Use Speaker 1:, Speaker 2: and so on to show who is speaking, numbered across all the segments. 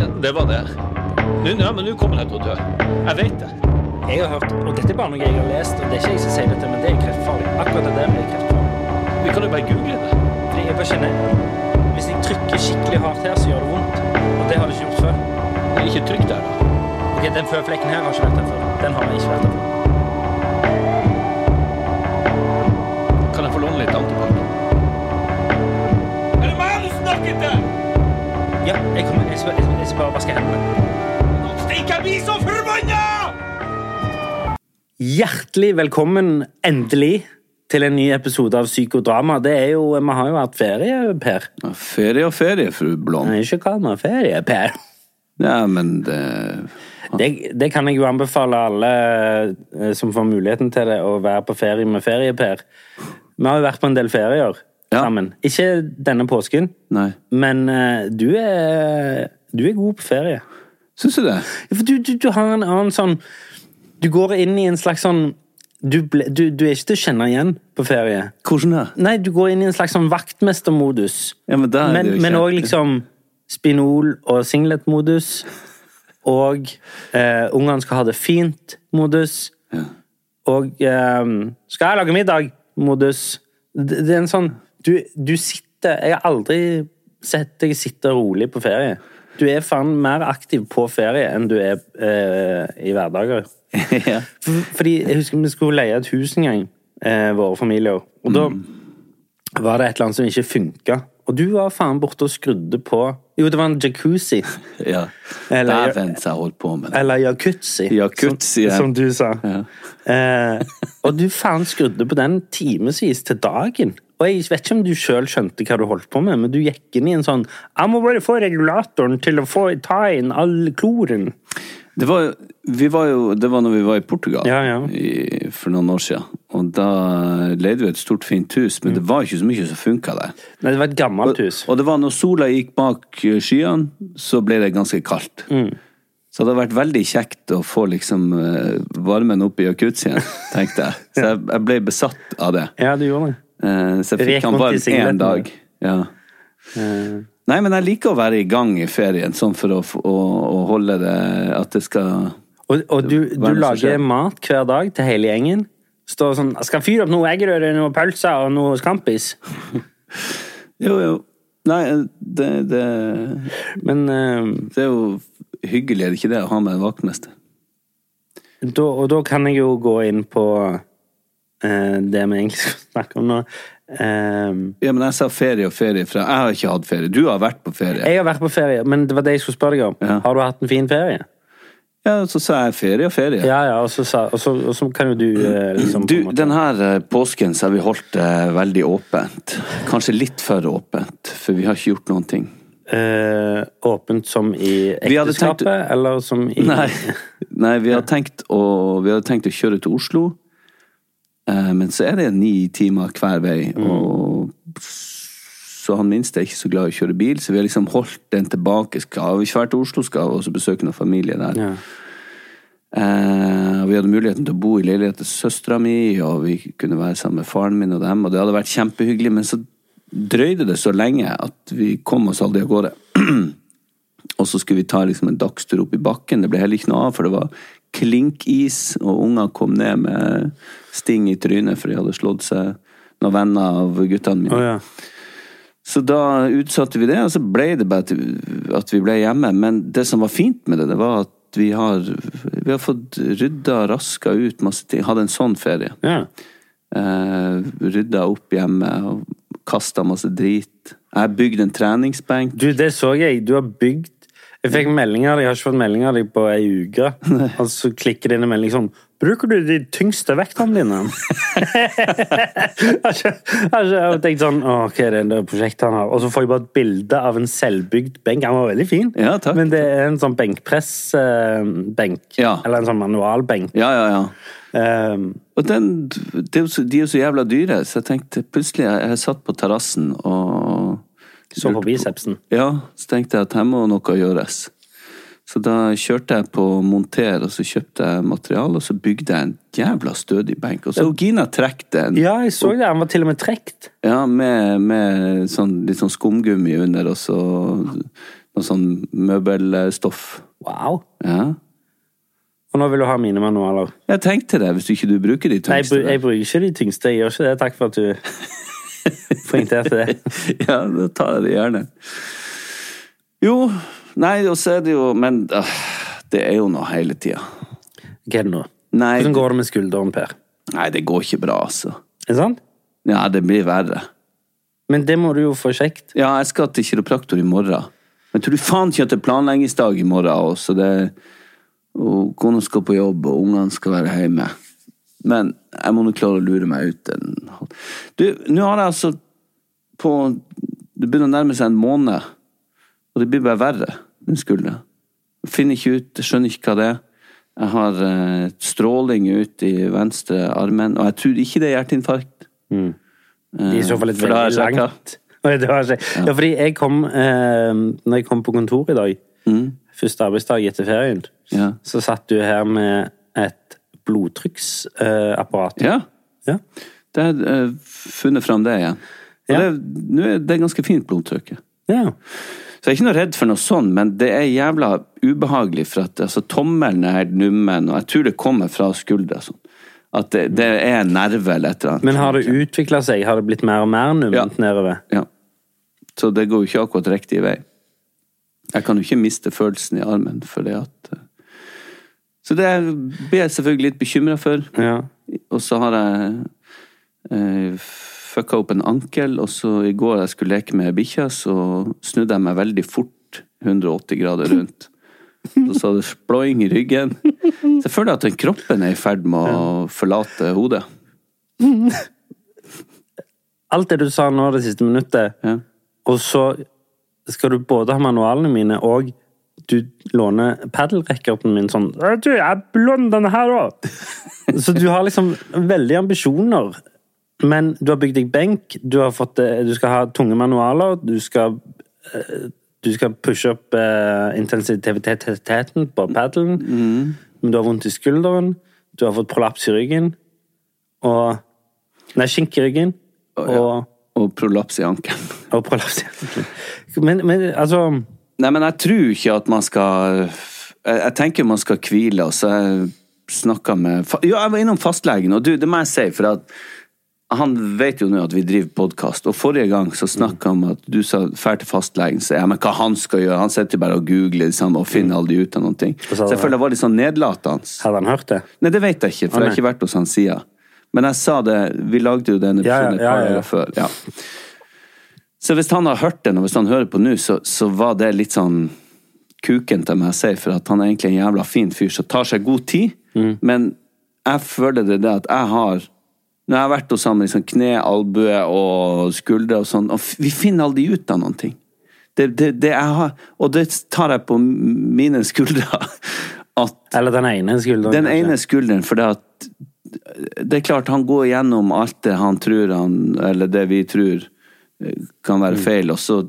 Speaker 1: Ja, det var det. Nå, ja, men nå kommer jeg til å dø. Jeg vet det.
Speaker 2: Jeg har hørt, og dette er bare noe jeg har lest, og det er ikke jeg som sier dette, men det er kreftfarlig. Akkurat det der blir kreftfarlig.
Speaker 1: Vi kan jo bare google det.
Speaker 2: Fordi jeg bare kjenner, hvis jeg trykker skikkelig hardt her, så gjør det vondt. Og det har det ikke gjort før.
Speaker 1: Men Ikke trykk der, da.
Speaker 2: Ok, den føflekken her har ikke vært der før. Den har jeg ikke vært der før.
Speaker 1: Kan jeg få låne litt antibac? Er det meg du snakker til?
Speaker 2: Ja, jeg kommer, jeg skal, jeg skal, jeg skal bare vaske hendene.
Speaker 1: Steik, jeg blir så forbanna!
Speaker 2: Hjertelig velkommen, endelig, til en ny episode av Psykodrama. Det er jo, Vi har jo hatt ferie, Per.
Speaker 3: Ja, Ferie og ferie, fru Blom.
Speaker 2: Nei, ikke kall meg ferie, Per.
Speaker 3: Ja, men det
Speaker 2: Det, det kan jeg jo anbefale alle eh, som får muligheten til det, å være på ferie med ferie, Per. Vi har jo vært på en del ferier
Speaker 3: Ja.
Speaker 2: sammen. Ikke denne påsken,
Speaker 3: Nei.
Speaker 2: men eh, du er, du er god på ferie.
Speaker 3: Syns du det?
Speaker 2: Ja, For du, du, du har en annen sånn Du går inn i en slags sånn Du, ble, du, du er ikke til å kjenne igjen på ferie.
Speaker 3: Hvordan da?
Speaker 2: Nei, du går inn i en slags sånn vaktmestermodus.
Speaker 3: Ja, men det er
Speaker 2: men,
Speaker 3: det jo ikke.
Speaker 2: men også liksom spinol og singlet-modus. Og eh, ungene skal ha det fint-modus. Og eh, skal jeg lage middag-modus. Det, det er en sånn du, du sitter Jeg har aldri sett deg sitte rolig på ferie. Du er faen mer aktiv på ferie enn du er eh, i hverdager.
Speaker 3: ja.
Speaker 2: For- Fordi jeg husker vi skulle leie et hus en gang, eh, våre familier. Og da
Speaker 3: Mm.
Speaker 2: var det et eller annet som ikke funka. Og du var faen borte og skrudde på Jo, det var en jacuzzi.
Speaker 3: ja.
Speaker 2: Eller-
Speaker 3: Dæven, så jeg holdt på med det.
Speaker 2: Eller jacuzzi,
Speaker 3: Jacuzzi,
Speaker 2: som,
Speaker 3: ja.
Speaker 2: som du sa.
Speaker 3: Ja.
Speaker 2: Eh, og du faen skrudde på den timevis til dagen. Og jeg vet ikke om du sjøl skjønte hva du holdt på med, men du gikk inn i en sånn Jeg må bare få regulatoren til å få, ta inn all kloren.
Speaker 3: Det var, jo- vi var jo, det var når vi var i Portugal
Speaker 2: Ja, ja.
Speaker 3: I, for noen år siden. Og da leide vi et stort, fint hus,
Speaker 2: Mm.
Speaker 3: men det var ikke så mye som funka der.
Speaker 2: Nei, det var et gammelt hus.
Speaker 3: Og det var når sola gikk bak eh, skyene, så ble det ganske kaldt. Så det hadde vært veldig kjekt å få liksom eh, varmen opp i jacuzzien, tenkte jeg. Så jeg, jeg ble besatt av det.
Speaker 2: Ja, du gjorde det.
Speaker 3: Eh, Så
Speaker 2: Det
Speaker 3: jeg
Speaker 2: gikk
Speaker 3: fikk han
Speaker 2: vondt i
Speaker 3: varm
Speaker 2: singleten,
Speaker 3: én dag. Ja. Nei, men jeg liker å være i gang i ferien, sånn for å, f- å, å holde det At det skal
Speaker 2: Og, og du,
Speaker 3: Hva er
Speaker 2: du
Speaker 3: det som
Speaker 2: lager
Speaker 3: skjer?
Speaker 2: mat hver dag til hele gjengen. Står sånn Skal fyre opp noe eggerøre, noe pølser og noe Scampis.
Speaker 3: Jo, jo. Nei, eh, det, det,
Speaker 2: Men eh,
Speaker 3: det er jo hyggelig, er det ikke det, å ha med en vaktmester?
Speaker 2: da, Og da kan jeg jo gå inn på eh, det vi egentlig skal snakke om nå. Eh,
Speaker 3: Ja, men jeg sa ferie og ferie, for jeg har ikke hatt ferie. Du har vært på ferie.
Speaker 2: jeg har vært på ferie, men det var det jeg skulle spørre deg om.
Speaker 3: Ja.
Speaker 2: Har du hatt en fin ferie?
Speaker 3: Ja, så sa jeg ferie og ferie.
Speaker 2: Ja, ja, og så, sa, og så, og så kan jo du eh, liksom på en
Speaker 3: Du,
Speaker 2: måte-
Speaker 3: den her eh, påsken så har vi holdt det veldig åpent. Kanskje litt for åpent, for vi har ikke gjort noen ting.
Speaker 2: eh, Åpent som i
Speaker 3: Vi hadde tenkt-
Speaker 2: ekteskapet, eller som i
Speaker 3: Nei, nei vi, har tenkt å, vi hadde tenkt å kjøre til Oslo, eh, men så er det ni timer hver vei. Og så han minste er ikke så glad i å kjøre bil, så vi har liksom holdt den tilbake. Skal vi ikke være til Oslo, skal vi også besøke noen familie der.
Speaker 2: Ja.
Speaker 3: Eh, og vi hadde muligheten til å bo i leilighet til søstera mi, og vi kunne være sammen med faren min og dem, og det hadde vært kjempehyggelig, men så drøyde det så lenge at vi kom oss aldri av gårde. og så skulle vi ta liksom en dagstur opp i bakken, det ble heller ikke noe av, for det var klinkis, og unger kom ned med sting i trynet, for de hadde slått seg noen venner av guttene mine.
Speaker 2: Å, ja.
Speaker 3: Så da utsatte vi det, og så ble det bare at- at vi ble hjemme. Men det som var fint med det, det var at vi har, vi har fått rydda raska ut masse ting. Hadde en sånn ferie.
Speaker 2: ja.
Speaker 3: Eh, rydda opp hjemme og kasta masse drit. Jeg bygde en treningsbenk.
Speaker 2: Du, det så jeg. Du har
Speaker 3: Mm.
Speaker 2: bygd Jeg fikk melding av deg, jeg har ikke fått melding av deg på ei uke. Og så klikker det inn en melding sånn Bruker du de tyngste vektene dine? jeg har ikke- jeg har ikke tenkt sånn Å, hva er det det prosjektet han har? Og så får jeg bare et bilde av en selvbygd benk. Han var veldig fin,
Speaker 3: Ja, takk.
Speaker 2: men det er en sånn benkpress-benk.
Speaker 3: Ja.
Speaker 2: Eller en sånn manualbenk.
Speaker 3: Ja, ja, ja.
Speaker 2: Eh,
Speaker 3: Og den, det er jo så, de er jo så jævla dyre, så jeg tenkte plutselig Jeg, jeg satt på terrassen og
Speaker 2: så på bicepsen.
Speaker 3: Ja, så tenkte jeg at her må noe gjøres. Så da kjørte jeg på Monter, og så kjøpte jeg materiale, og så bygde jeg en jævla stødig benk. Og så Gina trekk den,
Speaker 2: Ja, jeg så det. Han var til og med trekt.
Speaker 3: ja, med, med sånn, litt sånn skumgummi under, og så noe sånn møbelstoff.
Speaker 2: Wow.
Speaker 3: Ja.
Speaker 2: Og nå vil du ha mine manualer.
Speaker 3: Jeg tenkte det, hvis du ikke du bruker de
Speaker 2: Nei, jeg, bru-
Speaker 3: tungste.
Speaker 2: jeg bruker ikke de tyngste. Jeg gjør ikke det. Takk for at du poengterte det.
Speaker 3: ja, da tar jeg det gjerne. Jo, nei, og så er det jo Men øh, det er jo noe hele tida.
Speaker 2: Hva er det nå?
Speaker 3: Nei.
Speaker 2: Hvordan går det med skulderen, Per?
Speaker 3: Nei, det går ikke bra, altså.
Speaker 2: Er det sant?
Speaker 3: Ja, det blir verre.
Speaker 2: Men det må du jo få sjekt.
Speaker 3: Ja, jeg skal til kiropraktor i morgen. Men tror du faen ikke at det er planleggingsdag i morgen òg, så det og Kona skal på jobb, og ungene skal være hjemme. Men jeg må nå klare å lure meg ut en halv- Du, nå har jeg altså på Det begynner å nærme seg en måned, og det blir bare verre, den skuldra. Jeg Finner ikke ut, jeg skjønner ikke hva det er. Jeg har eh, stråling ut i venstre armen, og jeg tror ikke det er hjerteinfarkt.
Speaker 2: Mm.
Speaker 3: Eh,
Speaker 2: Det er i så fall litt
Speaker 3: For da har jeg
Speaker 2: veldig
Speaker 3: sjekket.
Speaker 2: langt. Nei, Det har jeg ikke. Ja, fordi jeg kom eh, Når jeg kom på kontoret i dag, første arbeidsdag etter ferien,
Speaker 3: Mm. Ja.
Speaker 2: så satt du her med et blodtrykksapparat.
Speaker 3: Ja.
Speaker 2: Ja.
Speaker 3: Det har jeg eh, funnet fram det igjen. Og
Speaker 2: Ja.
Speaker 3: det, nå er det ganske fint blodtrykket.
Speaker 2: Ja.
Speaker 3: Så jeg er ikke noe redd for noe sånn, men det er jævla ubehagelig, for at altså, tommelen er helt nummen, og jeg tror det kommer fra skuldra. Sånn. At det, det er en nerve eller et eller annet.
Speaker 2: Men har det utvikla seg? Har det blitt mer og mer numment
Speaker 3: Ja.
Speaker 2: nedover?
Speaker 3: Ja. Så det går jo ikke akkurat riktig vei. Jeg kan jo ikke miste følelsen i armen fordi at eh, Så det blir jeg selvfølgelig litt bekymra for.
Speaker 2: Ja.
Speaker 3: Og så har jeg eh, fucka opp en ankel, og så i går jeg skulle leke med bikkja, så snudde jeg meg veldig fort 180 grader rundt. Så sa det sploing i ryggen. Så jeg føler at den kroppen er i ferd med å forlate hodet.
Speaker 2: Alt det du sa nå det siste minuttet,
Speaker 3: Ja.
Speaker 2: og så skal du både ha manualene mine og du låner padelrekkerten min sånn «Å, Du, jeg låner denne her òg! Så du har liksom veldig ambisjoner. Men du har bygd deg benk, du, har fått, eh, du skal ha tunge manualer, du skal eh, du skal pushe opp eh, intensiteten på padelen, men du har vondt i skulderen, du har fått prolaps i ryggen, og Nei, skink i ryggen, og
Speaker 3: Og prolaps i ankelen.
Speaker 2: og prolaps. Men, men altså
Speaker 3: Nei, men jeg tror ikke at man skal Jeg, jeg tenker man skal hvile, og så jeg snakka med fa- Jo, jeg var innom fastlegen, og du, det må jeg si, for at han vet jo nå at vi driver podkast, og forrige gang så snakka han om at du sa drar til fastlegen, så ja, men hva han skal gjøre? Han sitter jo bare og googler det samme og finner aldri ut av noen ting.
Speaker 2: sa
Speaker 3: Så jeg
Speaker 2: han?
Speaker 3: føler det var litt sånn nedlatende.
Speaker 2: Hadde han hørt det?
Speaker 3: Nei, det vet jeg ikke, for
Speaker 2: Å,
Speaker 3: jeg har ikke vært hos han siden. Men jeg sa det Vi lagde jo den
Speaker 2: Ja, ja,
Speaker 3: episoden et
Speaker 2: ja,
Speaker 3: par
Speaker 2: ja, ja.
Speaker 3: år før. Ja. Så hvis han har hørt den, og hvis han hører på nå, så, så var det litt sånn kuken til meg å si, for at han er egentlig en jævla fin fyr som tar seg god tid,
Speaker 2: Mm.
Speaker 3: men jeg føler det, det at jeg har Når jeg har vært hos han med liksom kne, albue og skuldre og sånn, og f- vi finner aldri ut av noen ting. Det, det, det jeg har, og det tar jeg på mine skuldre. At
Speaker 2: Eller den ene skulderen?
Speaker 3: den
Speaker 2: kanskje.
Speaker 3: ene skulderen, for det at Det er klart, han går gjennom alt det han tror han Eller det vi tror eh, kan være feil, og så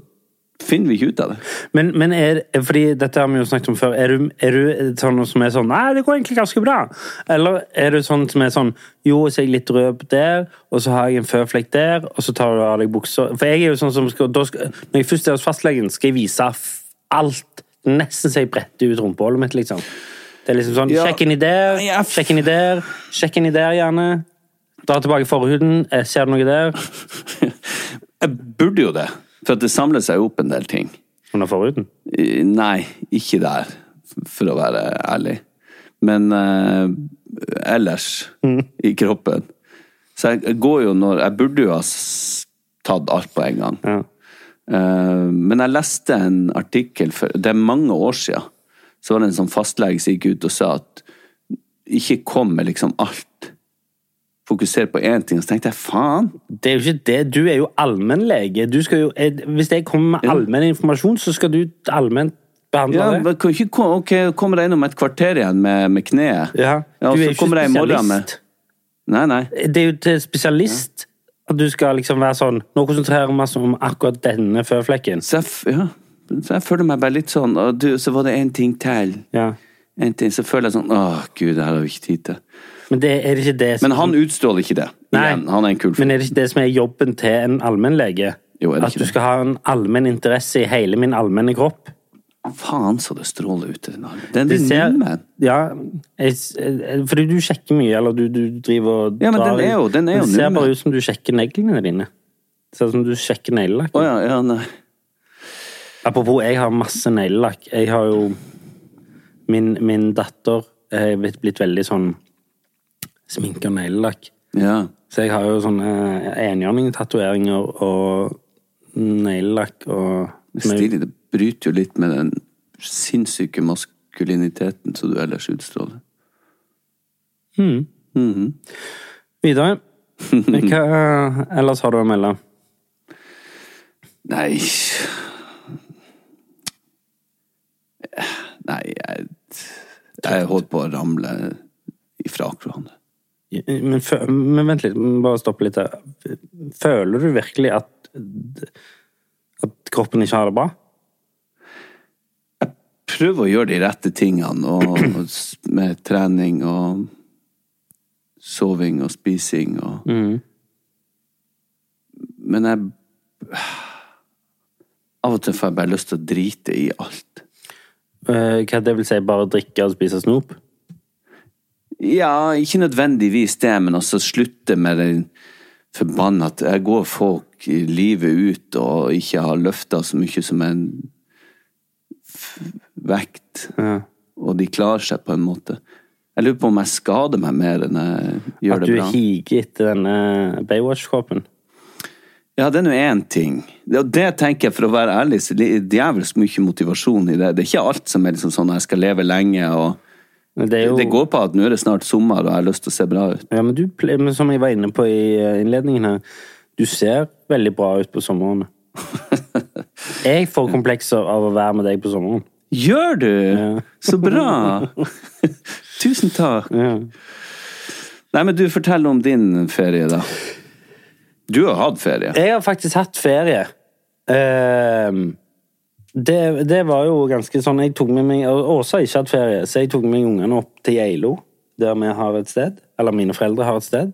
Speaker 3: finner vi ikke ut av det.
Speaker 2: Men, men er, fordi dette har vi jo snakket om før. Er du, er du sånn som er sånn Nei, det går egentlig ganske bra. Eller er du sånn som er sånn Jo, så er jeg litt rød der, og så har jeg en føflekk der, og så tar du av deg buksa For jeg er jo sånn som skal, da skal, Når jeg først er hos fastlegen, skal jeg vise f- alt. Nesten så jeg bretter ut rumpehullet mitt, liksom. Det er liksom sånn
Speaker 3: Ja.
Speaker 2: Sjekk inni der,
Speaker 3: Ja, f-
Speaker 2: sjekk inni der, sjekk inni der, gjerne. Dra tilbake forhuden. eh, Ser du noe der?
Speaker 3: Jeg burde jo det, for at det samler seg opp en del ting.
Speaker 2: Under forhuden?
Speaker 3: Eh, Nei, ikke der, for å være ærlig. Men eh, ellers i kroppen. Så jeg- jeg går jo når Jeg burde jo ha s- tatt alt på en gang.
Speaker 2: Ja.
Speaker 3: Eh, Men jeg leste en artikkel for Det er mange år siden. Så var det en sånn fastlege som gikk ut og sa at ikke kom med liksom alt. Fokusere på én ting. Og så tenkte jeg faen,
Speaker 2: Det er jo ikke det. Du er jo allmennlege. Du skal jo, eh, hvis jeg kommer med allmenn informasjon, så skal du allment behandle
Speaker 3: Ja,
Speaker 2: det.
Speaker 3: men kan ikke kom, ok, kommer jeg innom et kvarter igjen med, med kneet.
Speaker 2: Ja,
Speaker 3: ja og
Speaker 2: du
Speaker 3: så
Speaker 2: er jo ikke
Speaker 3: kommer jeg i morgen med
Speaker 2: spesialist.
Speaker 3: Nei, nei.
Speaker 2: Det er jo til spesialist at du skal liksom være sånn Nå konsentrerer vi oss om akkurat denne føflekken.
Speaker 3: Så jeg, f- ja. så jeg føler meg bare litt sånn og du, Så var det én ting til.
Speaker 2: Ja.
Speaker 3: En ting, så føler jeg sånn Å, gud, det her har vi ikke tid til.
Speaker 2: Men det er det ikke det som
Speaker 3: Men han utstråler ikke det.
Speaker 2: Nei.
Speaker 3: Igjen, han er en kul fyr.
Speaker 2: Men er det ikke det som er jobben til en allmennlege?
Speaker 3: Jo, er det
Speaker 2: At
Speaker 3: ikke
Speaker 2: du
Speaker 3: det?
Speaker 2: skal ha en allmenn interesse i hele min allmenne kropp?
Speaker 3: Faen, så det stråler ut i den armen. Den
Speaker 2: Det ser-
Speaker 3: nymmen.
Speaker 2: Ja, jeg, s- eh, fordi du sjekker mye, eller du, du driver og
Speaker 3: Ja, men
Speaker 2: drar
Speaker 3: den er
Speaker 2: i-
Speaker 3: jo- den er jo
Speaker 2: Det ser
Speaker 3: nummer.
Speaker 2: bare ut som du sjekker neglene dine. Sånn som du sjekker neglelakk.
Speaker 3: Å ja, ja, nei.
Speaker 2: Apropos, jeg har masse neglelakk. Jeg har jo Min, min datter er blitt, blitt veldig sånn sminke og neglelakk.
Speaker 3: Ja.
Speaker 2: Så jeg har jo sånne eh, enhjørningtatoveringer og neglelakk og
Speaker 3: Stilig. Det bryter jo litt med den sinnssyke maskuliniteten som du ellers utstråler.
Speaker 2: Videre. Hva ellers har du å melde?
Speaker 3: Nei Nei, jeg, jeg holdt på å ramle ifra hverandre.
Speaker 2: Men, fø- men vent litt, bare stopp litt der. Føler du virkelig at, at kroppen ikke har det bra?
Speaker 3: Prøv å gjøre de rette tingene og, og s- med trening og soving og spising og Men jeg Av og til får jeg bare lyst til å drite i alt.
Speaker 2: Eh, Hva det vil si, bare drikke og spise snop?
Speaker 3: Ja, ikke nødvendigvis det, men også slutte med den forbanna at jeg går folk i livet ut og ikke har løfta så mye som en f- vekt. Og de klarer seg på en måte. Jeg lurer på om jeg skader meg mer enn jeg gjør
Speaker 2: At
Speaker 3: det
Speaker 2: du
Speaker 3: bra.
Speaker 2: higer etter denne Baywatch-kroppen?
Speaker 3: Ja, det er nå én ting. Det, og det tenker jeg, for å være ærlig, så det er djevelsk mye motivasjon i det. Det er ikke alt som er liksom sånn jeg skal leve lenge og
Speaker 2: Men Det er jo,
Speaker 3: Det går på at nå er det snart sommer, og jeg har lyst til å se bra ut.
Speaker 2: Ja, men du, ple- men som jeg var inne på i eh, innledningen her, du ser veldig bra ut på sommeren. Jeg får komplekser av å være med deg på sommeren.
Speaker 3: Gjør du? Så bra! Tusen takk. Nei, men du, fortell om din ferie, da. Du har hatt ferie.
Speaker 2: Jeg har faktisk hatt ferie. Ehm, det, det var jo ganske sånn jeg tok med meg, og Åsa har ikke hatt ferie, så jeg tok med meg ungene opp til Geilo, der vi har et sted. Eller mine foreldre har et sted.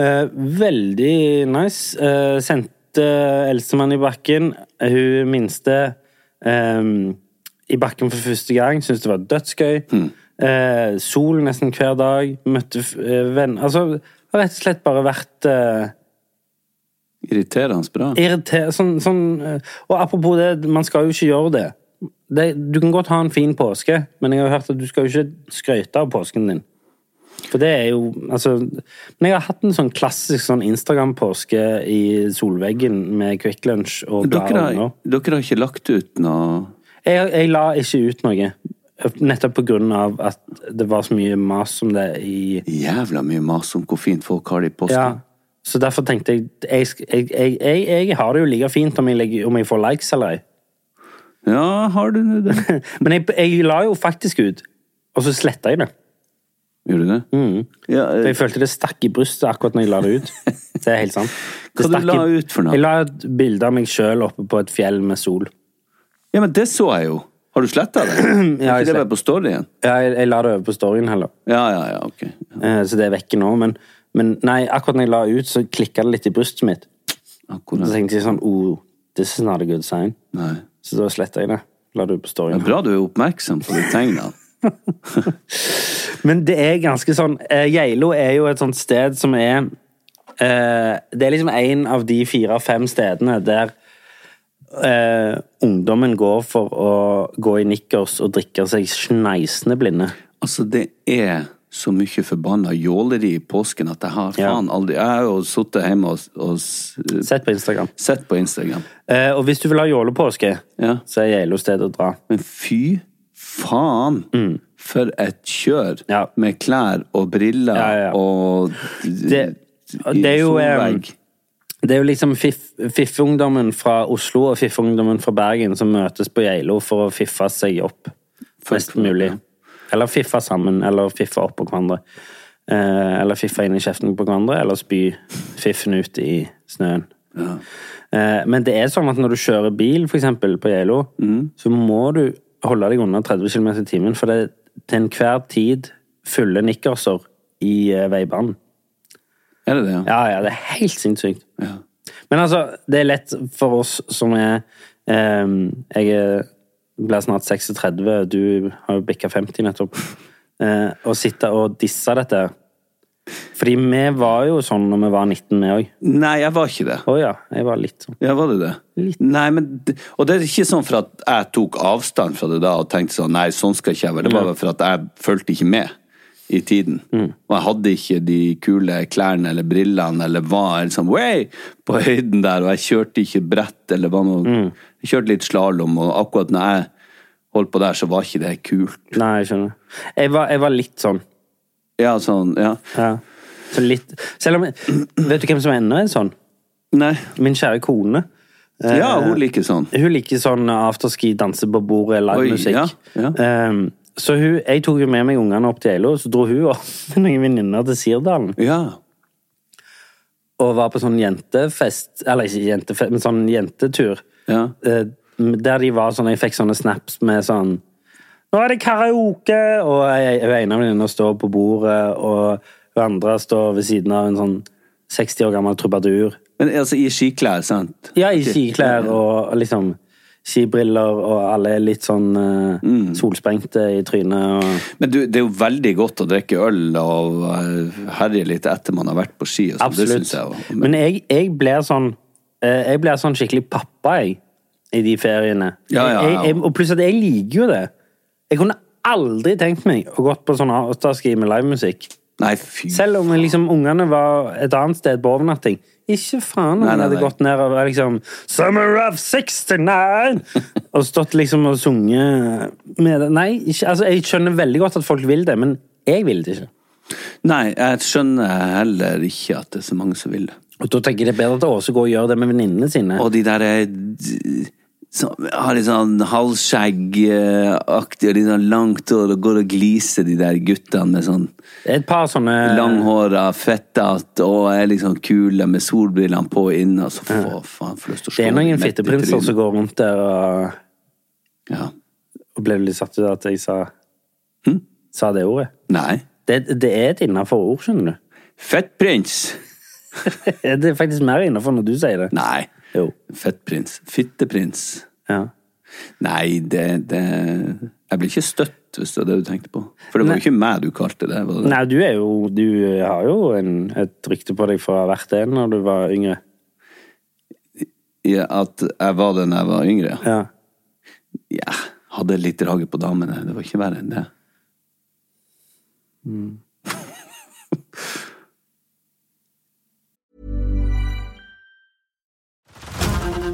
Speaker 2: Eh, veldig nice. Eh, sendte eldstemann i bakken. Hun minste ehm, i bakken for første gang. Syntes det var dødsgøy. Eh, sol nesten hver dag. Møtte f- eh, venner Altså, har rett og slett bare vært eh,
Speaker 3: Irriterende bra.
Speaker 2: Irriter, sånn, sånn, eh, og apropos det, man skal jo ikke gjøre det. det. Du kan godt ha en fin påske, men jeg har jo hørt at du skal jo ikke skryte av påsken din. For det er jo altså, Men jeg har hatt en sånn klassisk sånn Instagram-påske i solveggen med Kvikk Lunsj og
Speaker 3: Dere
Speaker 2: glade
Speaker 3: har,
Speaker 2: unger.
Speaker 3: dere har ikke lagt ut noe
Speaker 2: Jeg, jeg la ikke ut noe. Nettopp på grunn av at det var så mye mas om det i
Speaker 3: jævla mye mas om hvor fint folk har det i
Speaker 2: Ja.
Speaker 3: påsken?
Speaker 2: Så derfor tenkte jeg jeg, sk- jeg, jeg, jeg, jeg har det jo like fint om jeg, legger, om jeg får likes eller ei.
Speaker 3: Ja, har du nå det?
Speaker 2: Men jeg, jeg la jo faktisk ut, og så sletta jeg det.
Speaker 3: Gjør du det? Ja,
Speaker 2: For
Speaker 3: eh,
Speaker 2: jeg følte Mm. det stakk i brystet akkurat når jeg la det ut. Det er helt sant. Det
Speaker 3: Hva du
Speaker 2: stakk
Speaker 3: la
Speaker 2: i-
Speaker 3: ut for noe?
Speaker 2: Jeg la et bilde av meg sjøl oppe på et fjell med sol.
Speaker 3: ja, men det så jeg jo. Har du sletta det? ja,
Speaker 2: jeg
Speaker 3: ikke det
Speaker 2: slett-
Speaker 3: bare på storyen?
Speaker 2: Ja, jeg, jeg la det over på storyen heller,
Speaker 3: Ja, ja, ja, ok.
Speaker 2: Eh, så det er vekke nå. Men, men nei, akkurat når jeg la ut, så klikka det litt i brystet mitt. Så
Speaker 3: Akkurat.
Speaker 2: tenkte jeg sånn oh, this is not a good sign.
Speaker 3: Nei.
Speaker 2: Så da sletta jeg det. La det ut på
Speaker 3: Det
Speaker 2: storyen.
Speaker 3: er bra du er oppmerksom på de tegnene.
Speaker 2: Men det er ganske sånn eh, Geilo er jo et sånt sted som er eh, Det er liksom en av de fire-fem stedene der eh, ungdommen går for å gå i nikkers og drikke seg sneisende blinde.
Speaker 3: Altså, det er så mye forbanna jåleri i påsken at jeg har
Speaker 2: Ja.
Speaker 3: faen aldri Jeg har jo sittet hjemme og, og s-
Speaker 2: Sett på Instagram.
Speaker 3: sett på Instagram.
Speaker 2: Eh, og hvis du vil ha jålepåske,
Speaker 3: Ja.
Speaker 2: så er Geilo stedet å dra.
Speaker 3: Men fy faen! For et kjør!
Speaker 2: Mm. Ja.
Speaker 3: Med klær og briller
Speaker 2: Ja, ja, ja.
Speaker 3: og
Speaker 2: Det- det er jo, eh,
Speaker 3: solvegg.
Speaker 2: Det er jo liksom fiff- fiffungdommen fra Oslo og fiffungdommen fra Bergen som møtes på Geilo for å fiffe seg opp mest mulig. Eller fiffe sammen, eller fiffe oppå hverandre. Eh, eller fiffe inn i kjeften på hverandre, eller spy fiffen ut i snøen. Eh, men det er sånn at når du kjører bil, for eksempel, på Geilo, så må du holde deg under 30 km i timen, for det er til enhver tid fulle nikkerser i eh, veibanen.
Speaker 3: Er det det, ja?
Speaker 2: Ja, ja, det er helt sinnssykt. Men altså, det er lett for oss som er ehm, Jeg er- blir snart 36, du har jo bikka 50 nettopp. eh, Å sitte og disse dette. her. Fordi vi var jo sånn når vi var 19, vi òg.
Speaker 3: Nei, jeg var ikke det.
Speaker 2: Å ja, jeg var litt sånn.
Speaker 3: Ja, var det det? Nei, men, det- og det er ikke sånn for at jeg tok avstand fra det da og tenkte sånn Nei, sånn skal ikke jeg være. Det var bare for at jeg fulgte ikke med i tiden.
Speaker 2: Mm.
Speaker 3: Og jeg hadde ikke de kule klærne eller brillene eller var liksom way på høyden der, og jeg kjørte ikke brett eller var noe
Speaker 2: Mm.
Speaker 3: Jeg kjørte litt slalåm, og akkurat når jeg holdt på der, så var ikke det kult.
Speaker 2: Nei, jeg skjønner. Jeg var, jeg var litt sånn.
Speaker 3: Ja, sånn, ja.
Speaker 2: Ja. Så litt Selv om Vet du hvem som ennå er sånn?
Speaker 3: Nei.
Speaker 2: Min kjære kone.
Speaker 3: Ja, hun
Speaker 2: Eh.
Speaker 3: liker sånn.
Speaker 2: Hun liker sånn afterski, danse på bordet,
Speaker 3: Oi,
Speaker 2: livemusikk.
Speaker 3: ja, ja.
Speaker 2: Ehm, så hun, jeg tok jo med meg ungene opp til Eilo, så dro hun og noen venninner til Sirdalen.
Speaker 3: Ja.
Speaker 2: Og var på sånn jentefest, eller ikke jentefest, men sånn jentetur.
Speaker 3: Ja.
Speaker 2: Eh, der de var sånn, jeg fikk sånne snaps med sånn Nå er det karaoke! Og jeg- hun ene venninna står på bordet, og hun andre står ved siden av en sånn 60 år gammel trubadur.
Speaker 3: Men altså i skiklær, sant?
Speaker 2: Ja, i skiklær og liksom skibriller, og alle er litt sånn eh, solsprengte i trynet. Og...
Speaker 3: Men du, Mm. det er jo veldig godt å drikke øl og eh, herje litt etter man har vært på ski. Og sånn. Det
Speaker 2: Absolutt.
Speaker 3: synes jeg også.
Speaker 2: Men jeg, jeg blir sånn eh, Jeg blir sånn skikkelig pappa, jeg, i de feriene.
Speaker 3: Ja, ja, ja.
Speaker 2: Jeg, jeg, og pluss at jeg liker jo det. Jeg kunne aldri tenkt meg å gått på sånn afterski med livemusikk.
Speaker 3: Nei, fy
Speaker 2: Selv om liksom ungene var et annet sted på overnatting. Ikke faen om
Speaker 3: Nei,
Speaker 2: jeg
Speaker 3: nei,
Speaker 2: hadde
Speaker 3: nei.
Speaker 2: gått ned og vært liksom Summer of 69! og stått liksom og sunget med det. Nei, ikke, altså, jeg skjønner veldig godt at folk vil det, men jeg vil det ikke.
Speaker 3: Nei, jeg skjønner heller ikke at det er så mange som vil det.
Speaker 2: Og Da tenker jeg det er bedre at Åse går og gjør det med venninnene sine.
Speaker 3: Og de der eh, d- som har litt sånn halvskjeggaktig og litt sånn langt hår og går og gliser, de der guttene med sånn
Speaker 2: Et par sånne
Speaker 3: langhåra, fettete og er liksom kule med solbrillene på inne. Altså, for faen, får lyst til å slå
Speaker 2: Eh. Det er
Speaker 3: dem
Speaker 2: noen
Speaker 3: midt i
Speaker 2: fitteprinser
Speaker 3: trynet.
Speaker 2: som går rundt der og,
Speaker 3: ja.
Speaker 2: og ble litt satt ut av at jeg sa,
Speaker 3: Hm?
Speaker 2: sa det ordet.
Speaker 3: Nei.
Speaker 2: Det, det er et innafor ord, skjønner du.
Speaker 3: Fettprins!
Speaker 2: Det er faktisk mer innafor når du sier det.
Speaker 3: Nei.
Speaker 2: Jo.
Speaker 3: Fettprins. Fitteprins.
Speaker 2: Ja.
Speaker 3: Nei, det, det Jeg blir ikke støtt, hvis det er det du tenkte på. For det var jo ikke meg du kalte det. Var det?
Speaker 2: Nei, du er jo Du har jo en, et rykte på deg fra hvert en når du var yngre.
Speaker 3: Ja, At jeg var det da jeg var yngre? Ja.
Speaker 2: Ja.
Speaker 3: ja. Hadde litt draget på damene. Det var ikke verre enn det.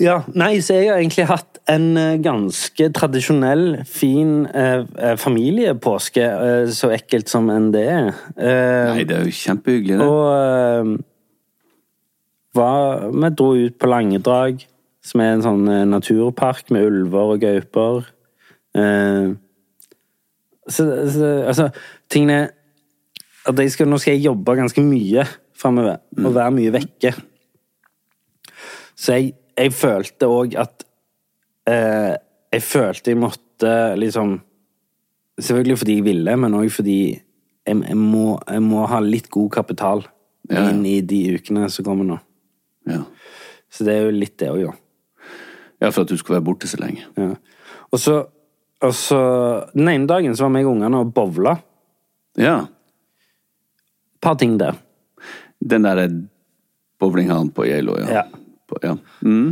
Speaker 2: Ja, nei, så jeg har egentlig hatt en eh, ganske tradisjonell, fin eh, eh, familiepåske, eh, så ekkelt som enn det er. Eh,
Speaker 3: Nei, det er jo kjempehyggelig, det.
Speaker 2: og eh, var, vi dro ut på Langedrag, som er en sånn eh, naturpark med ulver og gauper. Eh, så, så, altså, tingene at jeg skal, Nå skal jeg jobbe ganske mye framover,
Speaker 3: Mm.
Speaker 2: og være mye vekke. Så jeg, jeg følte òg at eh, Jeg følte jeg måtte liksom Selvfølgelig fordi jeg ville, men òg fordi jeg, jeg, må, jeg må ha litt god kapital
Speaker 3: Ja, ja.
Speaker 2: inn i de ukene som kommer nå.
Speaker 3: Ja.
Speaker 2: Så det er jo litt det òg, da.
Speaker 3: ja, for at du skal være borte så lenge.
Speaker 2: Ja. Og så, og så Den ene dagen så var meg og ungene og bowla.
Speaker 3: Ja.
Speaker 2: Et par ting der.
Speaker 3: Den derre bowlinghallen på Geilo, ja.
Speaker 2: Ja.
Speaker 3: På, ja. Mm.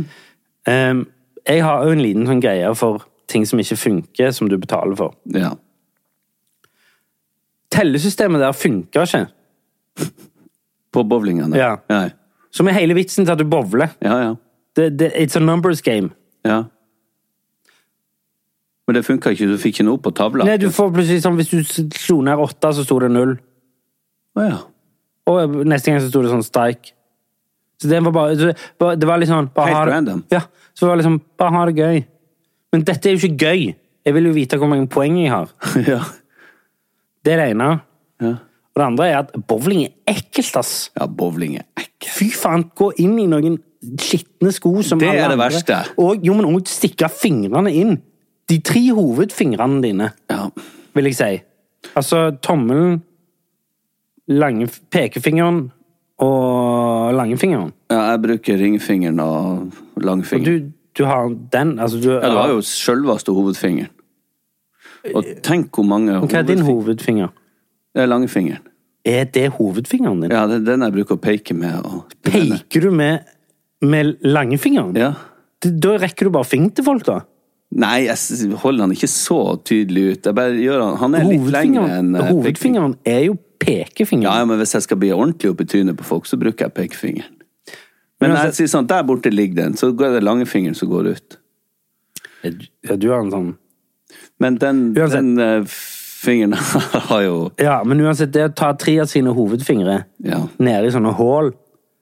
Speaker 2: Ehm, jeg har jo en liten sånn greie for ting som ikke funker, som du betaler for.
Speaker 3: ja.
Speaker 2: Tellesystemet der funker ikke.
Speaker 3: På bowlinghallen.
Speaker 2: Ja.
Speaker 3: Ja.
Speaker 2: Som er hele vitsen til at du bowler.
Speaker 3: ja, ja.
Speaker 2: Det, det, it's a numbers game.
Speaker 3: Ja. Men det funka ikke, du fikk ikke noe opp på tavla?
Speaker 2: Nei, du får plutselig sånn, Hvis du slo ned åtte, så sto det null.
Speaker 3: Å, ja.
Speaker 2: Og eh, neste gang så sto det sånn strike. Så det var bare så- bare- Det var litt sånn bare
Speaker 3: Helt
Speaker 2: ha det-
Speaker 3: random.
Speaker 2: Ja. Så det var liksom Bare ha det gøy. Men dette er jo ikke gøy. Jeg vil jo vite hvor mange poeng jeg har.
Speaker 3: ja.
Speaker 2: Det er det ene.
Speaker 3: Ja.
Speaker 2: Og det andre er at bowling er ekkelt, ass.
Speaker 3: ja, bowling er ekkelt.
Speaker 2: Fy faen, gå inn i noen skitne sko som
Speaker 3: Det
Speaker 2: alle
Speaker 3: er det
Speaker 2: andre.
Speaker 3: verste.
Speaker 2: Og, jo, men også stikke fingrene inn. De tre hovedfingrene dine,
Speaker 3: Ja.
Speaker 2: vil jeg si. Altså tommelen, lange, pekefingeren og langfingeren.
Speaker 3: ja, jeg bruker ringfingeren og
Speaker 2: Og
Speaker 3: langfingeren.
Speaker 2: du, du har den altså du,
Speaker 3: Ja, du har jo selveste hovedfingeren. Og tenk hvor mange
Speaker 2: Hva er din hovedfinger?
Speaker 3: Det er langfingeren.
Speaker 2: Er det hovedfingeren din?
Speaker 3: Ja, det er den jeg bruker å peke med. Og...
Speaker 2: Peker du med, med langfingeren?
Speaker 3: Ja.
Speaker 2: D- Da rekker du bare fingeren til folk, da.
Speaker 3: Nei, jeg s- holder han ikke så tydelig ut. Jeg bare gjør han, han er litt lengre enn
Speaker 2: Hovedfingeren,
Speaker 3: eh, pekefingeren.
Speaker 2: hovedfingeren er jo pekefingeren.
Speaker 3: Ja, ja, men hvis jeg skal bli ordentlig opp i trynet på folk, så bruker jeg pekefingeren. Men
Speaker 2: Men altså-
Speaker 3: når jeg sier sånn, der borte ligger den, så er det langfingeren som går ut.
Speaker 2: Ja, du har en sånn
Speaker 3: Men den,
Speaker 2: Uansett.
Speaker 3: den eh, fingeren har jo
Speaker 2: Ja, men uansett, det å ta tre av sine hovedfingre
Speaker 3: Ja.
Speaker 2: nede i sånne hull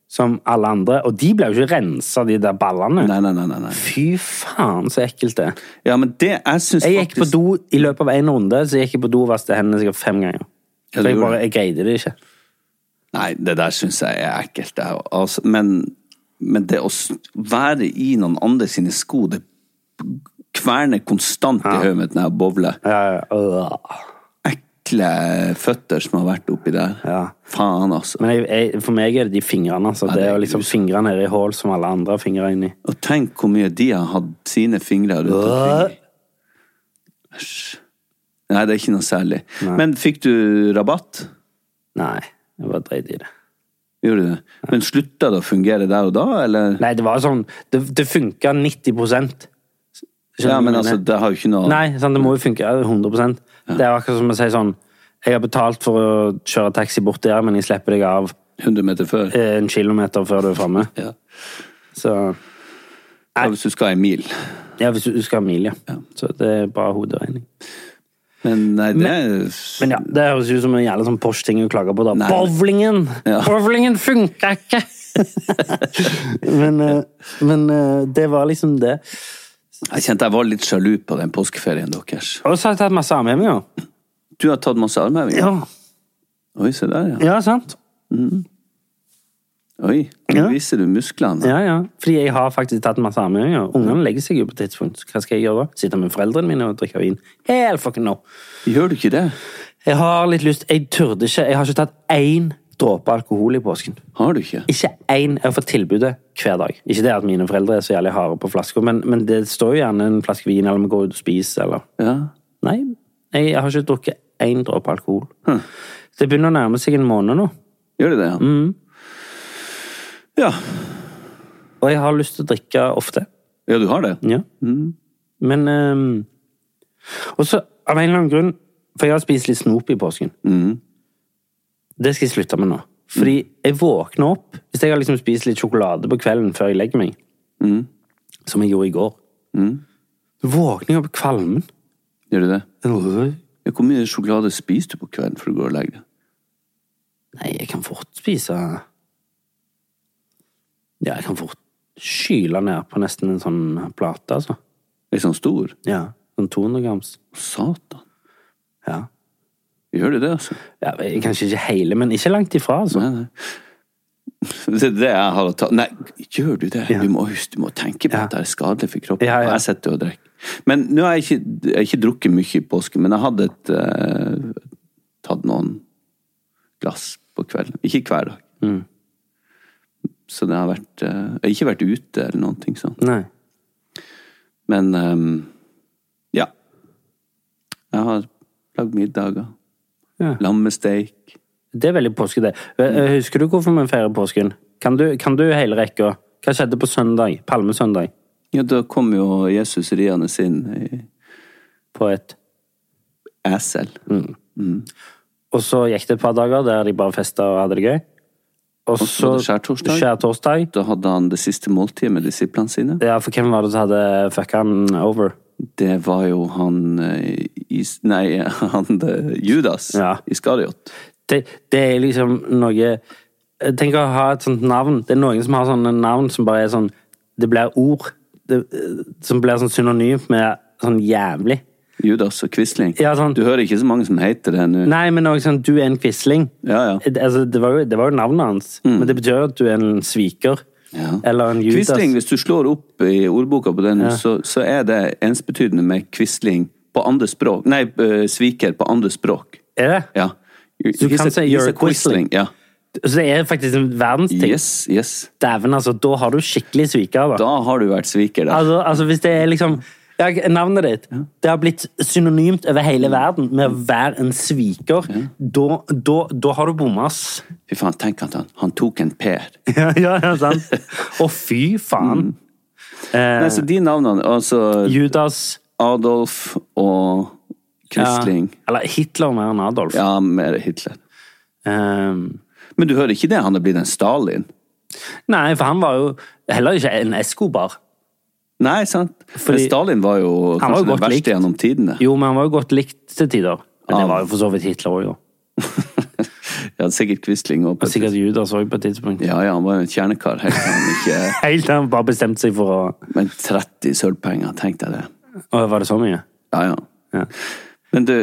Speaker 2: som alle andre Og de ble jo ikke rensa, de der ballene.
Speaker 3: Nei, nei, nei. nei, nei.
Speaker 2: Fy faen, så ekkelt det er.
Speaker 3: Ja, men det jeg syns
Speaker 2: Jeg gikk på do i løpet av én runde, så gikk jeg på do og vasket hendene sikkert fem ganger.
Speaker 3: Ja, du
Speaker 2: Så jeg
Speaker 3: gjorde
Speaker 2: bare
Speaker 3: det.
Speaker 2: jeg greide det ikke.
Speaker 3: Nei, det der syns jeg er ekkelt. det er- Altså, men, men det å s- være i noen andre sine sko, det kverner konstant i hodet mitt når jeg bowler.
Speaker 2: Ja, ja, øh.
Speaker 3: Ekle føtter som har vært oppi der.
Speaker 2: Ja.
Speaker 3: Faen, altså.
Speaker 2: Men jeg, jeg, for meg er det de fingrene. Altså,
Speaker 3: Ja,
Speaker 2: det
Speaker 3: det
Speaker 2: er
Speaker 3: er
Speaker 2: jo liksom
Speaker 3: grusomt.
Speaker 2: fingre nede i hull som alle andre har fingre inni.
Speaker 3: Og tenk hvor mye de har hatt sine fingre rundt omkring. Æsj. Nei, det er ikke noe særlig. Men fikk du rabatt?
Speaker 2: Nei, jeg bare dreit i det.
Speaker 3: Gjorde du det? Men slutta det å fungere der og da, eller?
Speaker 2: Nei, det var sånn Det, det funka 90 Skjønner
Speaker 3: Ja,
Speaker 2: du
Speaker 3: men
Speaker 2: hva jeg
Speaker 3: altså,
Speaker 2: mener?
Speaker 3: det har jo ikke noe
Speaker 2: Nei, sant, det må jo funke 100 Det er akkurat som å si sånn Jeg har betalt for å kjøre taxi bort der, men jeg slipper deg av
Speaker 3: 100 meter før.
Speaker 2: en kilometer før du er framme.
Speaker 3: Ja.
Speaker 2: Så
Speaker 3: Ja, Hvis du skal en mil.
Speaker 2: ja, hvis du du skal ha mil, ja. Så det er bra hoderegning.
Speaker 3: Men nei, det er
Speaker 2: Men ja, det høres ut som en jævla sånn Porsche-ting å klage på, da.
Speaker 3: Nei.
Speaker 2: Bowlingen!
Speaker 3: Ja.
Speaker 2: Bowlingen funka ikke! men eh, men eh, det var liksom det.
Speaker 3: Jeg kjente jeg var litt sjalu på den påskeferien deres.
Speaker 2: Og så har jeg tatt masse armhevinger.
Speaker 3: Du har tatt masse armhevinger?
Speaker 2: Ja.
Speaker 3: Oi, se der, ja.
Speaker 2: ja, sant?
Speaker 3: Oi, nå
Speaker 2: Ja.
Speaker 3: viser du musklene.
Speaker 2: Ja, ja. Fordi jeg har faktisk tatt masse armhevinger. Ungene legger seg jo på et tidspunkt. Hva skal jeg gjøre da? Sitte med foreldrene mine og drikke vin? Hell fucking no.
Speaker 3: Gjør du ikke det?
Speaker 2: Jeg har litt lyst Jeg turde ikke. Jeg har ikke tatt én dråpe alkohol i påsken.
Speaker 3: Har du ikke?
Speaker 2: Ikke én. Jeg har fått tilbudet hver dag. Ikke det at mine foreldre er så jævlig harde på flasker, men, men det står jo gjerne en flaske vin, eller vi går ut og spiser, eller
Speaker 3: Ja.
Speaker 2: Nei, jeg har ikke drukket én dråpe alkohol. Det begynner å nærme seg en måned nå,
Speaker 3: Gjør du det, ja?
Speaker 2: Mm.
Speaker 3: Ja.
Speaker 2: og jeg har lyst til å drikke ofte.
Speaker 3: ja, du har det?
Speaker 2: Ja. Men ehm, Og så, av en eller annen grunn For jeg har spist litt snop i påsken. Det skal jeg slutte med nå. Fordi jeg våkner opp Hvis jeg har liksom spist litt sjokolade på kvelden før jeg legger meg, som jeg gjorde i går Så våkner jeg opp i kvalmen.
Speaker 3: Gjør du det?
Speaker 2: Nei,
Speaker 3: Ja, hvor mye sjokolade spiser du på kvelden før du går og legger deg?
Speaker 2: jeg kan fort spise Ja, jeg kan fort skyle ned på nesten en sånn plate, altså.
Speaker 3: Litt sånn stor?
Speaker 2: Ja. Sånn 200 grams.
Speaker 3: Satan.
Speaker 2: Ja.
Speaker 3: Gjør du det, altså?
Speaker 2: ja. Kanskje ikke hele, men ikke langt ifra, altså.
Speaker 3: Nei, nei. Det er det jeg har å ta Nei, gjør du det?
Speaker 2: Ja.
Speaker 3: Du, må, husk- du må tenke på
Speaker 2: Ja.
Speaker 3: at det er skadelig for kroppen.
Speaker 2: Ja, ja.
Speaker 3: Og Jeg sitter og drikker. Men nå har jeg ikke, jeg har ikke drukket mye i påsken, men jeg hadde et, eh, tatt noen glass på kvelden. Ikke hver dag.
Speaker 2: Mm.
Speaker 3: Så det har vært eh, Jeg har ikke vært ute eller noen ting sånn.
Speaker 2: Nei.
Speaker 3: Men eh, ja. Jeg har lagd middager.
Speaker 2: Ja.
Speaker 3: Lammesteik.
Speaker 2: Det er veldig påske, det.
Speaker 3: Mm.
Speaker 2: Eh, eh, Husker du hvorfor vi feirer påsken? Kan du, kan du hele rekka? Hva skjedde på søndag? Palmesøndag?
Speaker 3: Ja, da kom jo Jesus riende inn i
Speaker 2: På et
Speaker 3: esel.
Speaker 2: Og så gikk det et par dager der de bare festa og hadde det gøy. Og så
Speaker 3: var det skjærtorsdag.
Speaker 2: skjærtorsdag.
Speaker 3: Da hadde han det siste måltidet med disiplene sine.
Speaker 2: Ja, for hvem var det som hadde fucka han over?
Speaker 3: Det var jo han eh, is, Nei, han eh, Judas
Speaker 2: Ja.
Speaker 3: Iskariot.
Speaker 2: Det, det er liksom noe Tenk å ha et sånt navn. Det er noen som har sånne navn som bare er sånn Det blir ord. Det, eh, som blir sånn synonymt med sånn jævlig.
Speaker 3: Judas og Quisling.
Speaker 2: Ja, sånn.
Speaker 3: Du hører ikke så mange som heter det nå.
Speaker 2: Nei, men også sånn Du er en quisling.
Speaker 3: Ja, ja.
Speaker 2: Det- Altså, det, var jo, det var jo navnet hans, men det betyr jo at du er en sviker.
Speaker 3: Ja.
Speaker 2: Eller en Judas.
Speaker 3: Quisling, hvis du slår opp i ordboka på den, så, så er det ensbetydende med Quisling på andre språk. Nei, eh, sviker på andre språk.
Speaker 2: Er det?
Speaker 3: Ja.
Speaker 2: Så du
Speaker 3: He's
Speaker 2: kan
Speaker 3: a-
Speaker 2: si
Speaker 3: he's
Speaker 2: you're
Speaker 3: a
Speaker 2: a Quisling.
Speaker 3: Ja.
Speaker 2: Så det er faktisk en verdensting.
Speaker 3: Yes, yes.
Speaker 2: Dæven, altså. Da har du skikkelig sviker. Da.
Speaker 3: Da har du vært sviker, da.
Speaker 2: Altså, altså, hvis det er liksom ja, Navnet ditt Det har blitt synonymt over hele verden med å være en sviker. Da, da, da har du bomma, ass.
Speaker 3: Fy faen, tenk at han, han tok en Per.
Speaker 2: ja, ja, ja, sant? Å, fy
Speaker 3: Mm.
Speaker 2: faen.
Speaker 3: Nei, så de navnene, altså
Speaker 2: Judas
Speaker 3: Adolf og Quisling
Speaker 2: Ja, eller Hitler mer enn Adolf.
Speaker 3: ja. mer Hitler.
Speaker 2: Ehm,
Speaker 3: Men du hører ikke det? Han er blitt en Stalin?
Speaker 2: nei, for han var jo heller ikke en Escobar.
Speaker 3: Nei, sant?
Speaker 2: Fordi-
Speaker 3: Men Stalin var jo
Speaker 2: Han var
Speaker 3: kanskje
Speaker 2: jo
Speaker 3: den
Speaker 2: godt
Speaker 3: verste
Speaker 2: likt.
Speaker 3: gjennom tidene.
Speaker 2: Jo, men han var jo godt likt til tider. Men
Speaker 3: Ja.
Speaker 2: det var jo for så vidt Hitler òg,
Speaker 3: Ja, sikkert Quisling òg.
Speaker 2: og sikkert Judas òg på et tidspunkt.
Speaker 3: Ja, ja, han var jo en kjernekar. Helt til han ikke
Speaker 2: Helt til han bare bestemte seg for å
Speaker 3: Men 30 sølvpenger, tenkte jeg det.
Speaker 2: Å, var det så mye?
Speaker 3: Ja, ja.
Speaker 2: Ja.
Speaker 3: Men du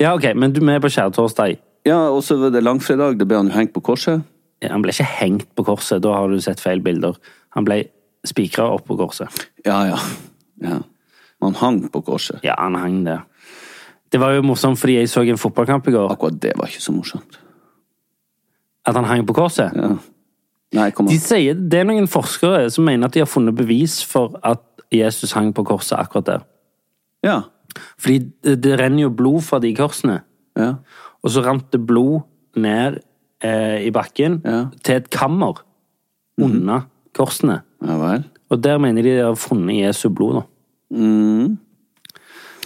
Speaker 2: Ja, ok, men du vi er på skjærtorsdag.
Speaker 3: Ja, og så var det langfredag. Da ble han jo hengt på korset.
Speaker 2: Ja, Han ble ikke hengt på korset, da har du sett feil bilder. Han ble spikra opp på korset.
Speaker 3: Ja, ja. ja. Man hang på korset.
Speaker 2: Ja, han hang der. Det var jo morsomt fordi jeg så en fotballkamp i går,
Speaker 3: Akkurat det var ikke så morsomt.
Speaker 2: at han hang på korset.
Speaker 3: Ja. Nei, kom
Speaker 2: De
Speaker 3: an.
Speaker 2: sier, det er noen forskere som mener at de har funnet bevis for at Jesus hang på korset akkurat der.
Speaker 3: Ja.
Speaker 2: Fordi det, det renner jo blod fra de korsene.
Speaker 3: ja.
Speaker 2: Og så rant det blod ned eh, i bakken
Speaker 3: Ja. Mhm.
Speaker 2: til et kammer under korsene.
Speaker 3: Ja vel.
Speaker 2: Og der mener de de har funnet Jesu blod, da.
Speaker 3: Mhm.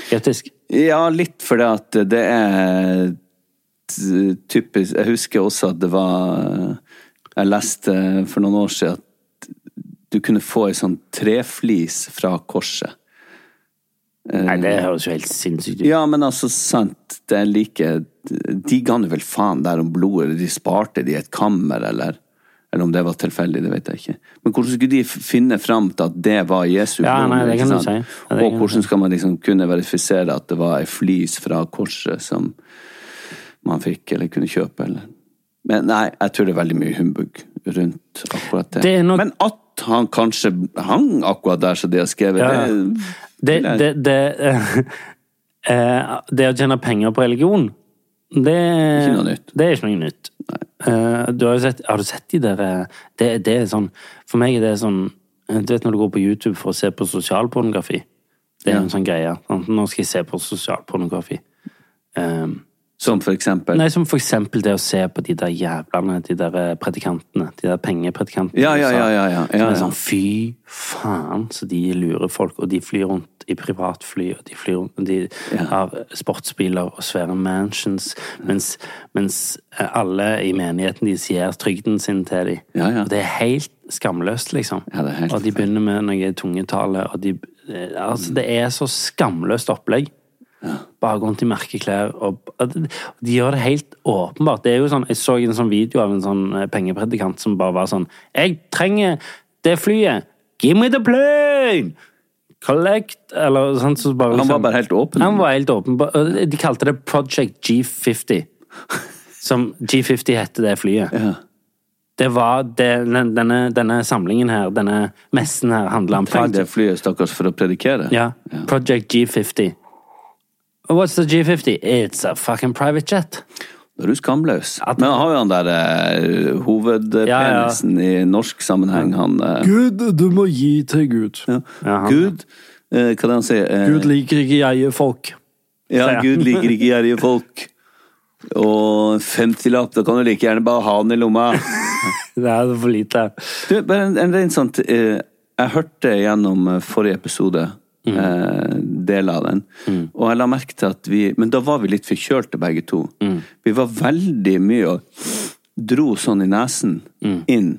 Speaker 2: Skeptisk.
Speaker 3: Ja, litt fordi at det er t- typisk Jeg husker også at det var Jeg leste for noen år siden at du kunne få ei sånn treflis fra korset. Eh.
Speaker 2: Nei, det høres jo helt sinnssykt ut.
Speaker 3: Ja, men altså, sant, det er like De ga nå vel faen der om blodet, eller de sparte det i et kammer, eller Eller om det var tilfeldig, det vet jeg ikke. Men hvordan skulle de f- finne fram til at det var Jesu
Speaker 2: Ja, nei, det
Speaker 3: ikke
Speaker 2: kan
Speaker 3: sant?
Speaker 2: du si. Ja, det kan
Speaker 3: Og
Speaker 2: du
Speaker 3: hvordan
Speaker 2: si.
Speaker 3: skal man liksom kunne verifisere at det var ei flis fra korset som man fikk, eller kunne kjøpe, eller Men nei, jeg tror det er veldig mye humbug rundt akkurat det.
Speaker 2: Det er nok-
Speaker 3: Men at han kanskje hang akkurat der som de har skrevet,
Speaker 2: Ja, ja. Det,
Speaker 3: Eller-
Speaker 2: det, det, eh, det å tjene penger på religion, det,
Speaker 3: Ikke noe nytt.
Speaker 2: det er ikke noe nytt. Eh, du har, jo sett, har du sett de der eh, det, det er sånn, For meg er det sånn eh, Du vet når du går på YouTube for å se på sosialpornografi? Det er
Speaker 3: Ja.
Speaker 2: en sånn greie. Sant? Nå skal jeg se på sosialpornografi. Um,
Speaker 3: som for eksempel
Speaker 2: Nei, som for eksempel det å se på de der jævlene, de der eh, predikantene, de der pengepredikantene.
Speaker 3: Ja, ja,
Speaker 2: i USA,
Speaker 3: ja, ja, ja, ja,
Speaker 2: som er
Speaker 3: ja.
Speaker 2: sånn, fy faen, så de lurer folk, og de flyr rundt i privatfly, og de flyr rundt, og de
Speaker 3: Ja.
Speaker 2: har sportsbiler og svære mansions, mens, mens eh, alle i menigheten de sier trygden sin til dem.
Speaker 3: Ja, ja.
Speaker 2: Og det er helt skamløst, liksom.
Speaker 3: Ja, det er helt
Speaker 2: og de begynner med noe tungetale, og de, eh, altså, det er så skamløst opplegg bare gå rundt i merkeklær. Og, og de de gjør det helt åpenbart. Det er jo sånn, jeg så en sånn video av en sånn eh, pengepredikant som bare var sånn Jeg trenger det flyet! Give me the plane! Collect! Eller sånn. Så bare,
Speaker 3: Han var bare helt åpen.
Speaker 2: Han var helt åpen. Ba- og De kalte det Project G50. Som G50 hette det flyet.
Speaker 3: Ja.
Speaker 2: Det var det, den- denne, denne samlingen her, denne messen her, handla om
Speaker 3: Trenger det flyet, stakkars, for å predikere?
Speaker 2: Yeah. Project G50. What's the G50? It's a fucking private jet.
Speaker 3: Da er du skamløs. Men han har jo han der eh, hovedpenisen i norsk sammenheng, han eh,
Speaker 2: Gud, du må gi til Gud. Ja, han-
Speaker 3: Gud eh, Hva er det han sier? Eh,
Speaker 2: Gud liker ikke jeg-folk.
Speaker 3: ja,
Speaker 2: sier han.
Speaker 3: Gud liker ikke gjerrige folk. Og en 50-lapp, da kan du like gjerne bare ha den i lomma.
Speaker 2: Det er for lite.
Speaker 3: Du, bare en, en ren sånn eh, Jeg hørte gjennom eh, forrige episode eh, deler av den, og jeg la merke til at vi Men da var vi litt forkjølte, begge to. Vi var veldig mye og dro sånn i nesen inn.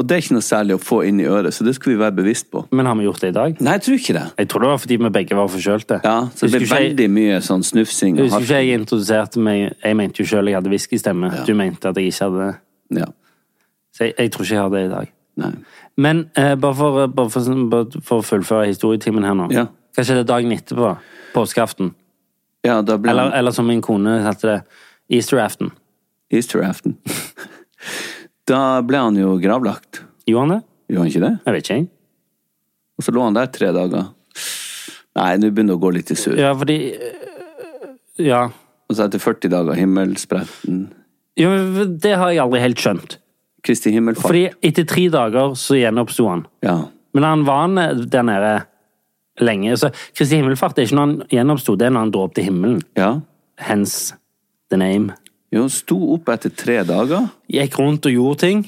Speaker 3: Og det er ikke noe særlig å få inn i øret, så det skulle vi være bevisst på.
Speaker 2: Men har vi gjort det i dag?
Speaker 3: Nei, jeg tror ikke det.
Speaker 2: Jeg tror det var fordi vi begge var forkjølte.
Speaker 3: Ja, så det
Speaker 2: Husker
Speaker 3: ble
Speaker 2: ikke jeg-
Speaker 3: veldig mye sånn snufsing.
Speaker 2: Jeg
Speaker 3: og
Speaker 2: husker ikke
Speaker 3: hark.
Speaker 2: jeg introduserte meg Jeg mente jo sjøl jeg hadde whiskystemme.
Speaker 3: Ja.
Speaker 2: Du mente at jeg ikke hadde det.
Speaker 3: Ja.
Speaker 2: Så jeg, jeg tror ikke jeg har det i dag.
Speaker 3: Nei.
Speaker 2: Men eh, bare, for, bare, for, sånn- bare for å fullføre historietimen her nå.
Speaker 3: Ja.
Speaker 2: Hva skjedde dagen etterpå? Påskeaften?
Speaker 3: ja, da ble
Speaker 2: Eller,
Speaker 3: det
Speaker 2: eller som min kone kalte det, Easteraften.
Speaker 3: Easter-aften. da ble han jo gravlagt.
Speaker 2: Gjorde han det?
Speaker 3: Gjorde han ikke det?
Speaker 2: Jeg vet ikke, jeg.
Speaker 3: Og så lå han der tre dager. Nei, nå begynner det å gå litt i surr.
Speaker 2: Ja, fordi øh, Ja.
Speaker 3: Og så etter 40 dager himmelspretten.
Speaker 2: Jo, men det har jeg aldri helt skjønt.
Speaker 3: Kristi himmelfart.
Speaker 2: Fordi etter tre dager så gjenoppsto han.
Speaker 3: Ja.
Speaker 2: Men han var ne- der nede lenge. Så Kristi himmelfart er ikke når han gjenoppsto, det er når han dro opp til himmelen.
Speaker 3: ja.
Speaker 2: Hence the name.
Speaker 3: Jo, han sto opp etter tre dager.
Speaker 2: Gikk rundt og gjorde ting.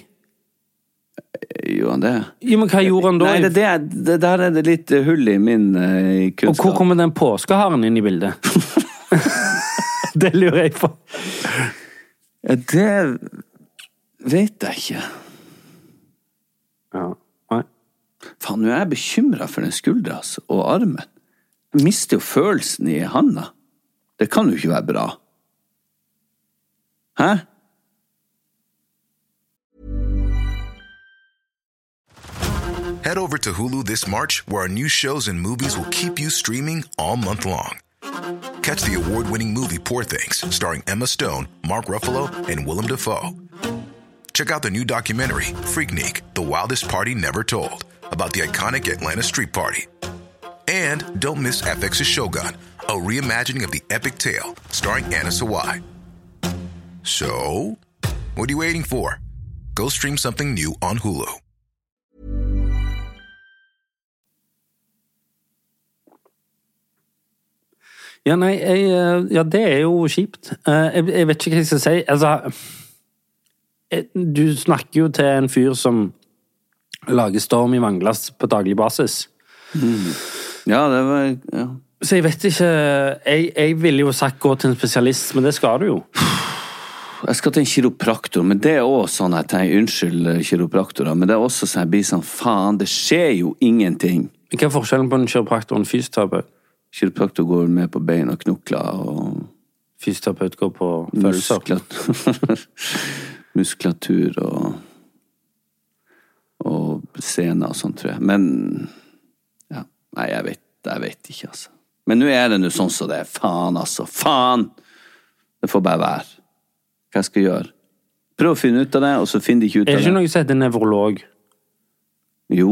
Speaker 3: Gjorde han det?
Speaker 2: Jo, men hva gjorde han da?
Speaker 3: Nei, det, det, det der er det litt hull i min eh,
Speaker 2: og
Speaker 3: kunnskap.
Speaker 2: hvor kommer den påskeharen inn i bildet? det lurer jeg på.
Speaker 3: Ja, det vet jeg ikke.
Speaker 2: Ja. Nei.
Speaker 3: Faen, nå er jeg bekymra for den skuldra altså, og armen. Jeg mister jo følelsen i handa. Det kan jo ikke være bra. Hæ?
Speaker 4: Head over to Hulu this March, where our new shows and movies will keep you streaming all month long. Catch the award winning movie Poor Things, starring Emma Stone, Mark Ruffalo, and Willem Dafoe. Check out the new documentary, Freaknik The Wildest Party Never Told, about the iconic Atlanta Street Party. And don't miss FX's Shogun, a reimagining of the epic tale, starring Anna Sawai. So, what are you waiting for? Go stream something new on Hulu.
Speaker 2: Ja, nei, jeg, eh, ja, det er jo kjipt. Eh, Jeg, jeg vet ikke hva jeg skal si. Altså eh, Du snakker jo til en fyr som lager storm i vannglass på daglig basis.
Speaker 3: Ja, det var ja.
Speaker 2: Så jeg vet ikke Jeg, jeg ville jo sagt gå til en spesialist, men det skal du jo.
Speaker 3: Jeg skal til en kiropraktor, men det er òg sånn jeg tenker Unnskyld, eh, kiropraktorer, men det er også sånn jeg blir sånn faen, det skjer jo ingenting.
Speaker 2: Men Hva er forskjellen på en kiropraktor og en fysioterapeut?
Speaker 3: Kiropraktor går med på bein og knokler og
Speaker 2: Fysioterapeut går på følelser.
Speaker 3: muskulatur, muskulatur og og sener og sånn, tror jeg. Men ja, Nei, jeg vet, jeg vet ikke, altså. Men nå er det nå sånn som det er. Faen, altså. Faen! Det får bare være. Hva jeg skal gjøre? Prøv å finne ut av det, og så finner de ikke ut
Speaker 2: Er
Speaker 3: av
Speaker 2: det ikke noe som heter nevrolog?
Speaker 3: Jo.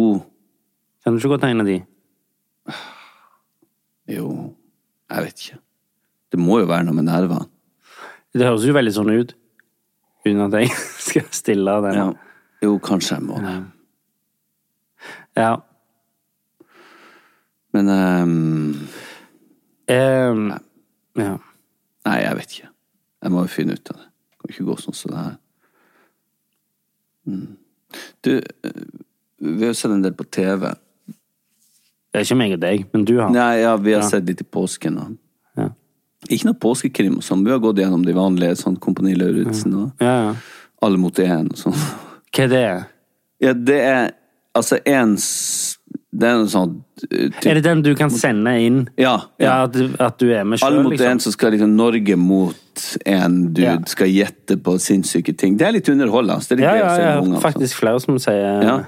Speaker 2: Kan du ikke gå til en av de?
Speaker 3: Jo. Jeg vet ikke. Det må jo være noe med nervene.
Speaker 2: Det høres jo veldig sånn ut. Uten at jeg skal stille den.
Speaker 3: Ja. Jo, kanskje jeg må det.
Speaker 2: Ja.
Speaker 3: Men ehm,
Speaker 2: Ehm, ja.
Speaker 3: Nei, jeg vet ikke. Jeg må jo finne ut av det. Det kan ikke gå sånn som det her. Mm. Du, eh, vi har jo sett en del på TV.
Speaker 2: Det er ikke meg og deg, men du har.
Speaker 3: Nei, ja, vi har sett litt i påsken. Og.
Speaker 2: Ja.
Speaker 3: Ikke noe påskekrim og sånn. Vi har gått gjennom de vanlige, sånn Kompani Lauritzen og
Speaker 2: Ja, ja.
Speaker 3: Alle mot én og sånn.
Speaker 2: Hva er det?
Speaker 3: Ja, det er altså en s- Det er noe sånn eh, typ-
Speaker 2: Er det den du kan sende inn?
Speaker 3: Ja,
Speaker 2: Ja,
Speaker 3: ja.
Speaker 2: at, du- at du er med
Speaker 3: Alle
Speaker 2: sjøl,
Speaker 3: mot én
Speaker 2: liksom?
Speaker 3: som skal liksom Norge mot en dude
Speaker 2: Ja.
Speaker 3: skal gjette på sinnssyke ting. Det er litt underholdende. Det er litt
Speaker 2: Ja,
Speaker 3: gøy å
Speaker 2: ja,
Speaker 3: se
Speaker 2: jeg
Speaker 3: med ungene
Speaker 2: har
Speaker 3: og sånn.
Speaker 2: faktisk flere som sier
Speaker 3: Ja.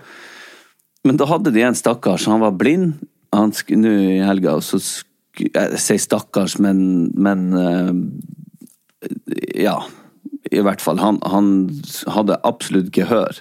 Speaker 3: Men da hadde de en stakkars, han var blind han sk- nå i helga, og så sk- Jeg sier stakkars, men, men eh, Ja. I hvert fall. Han, han s- hadde absolutt gehør.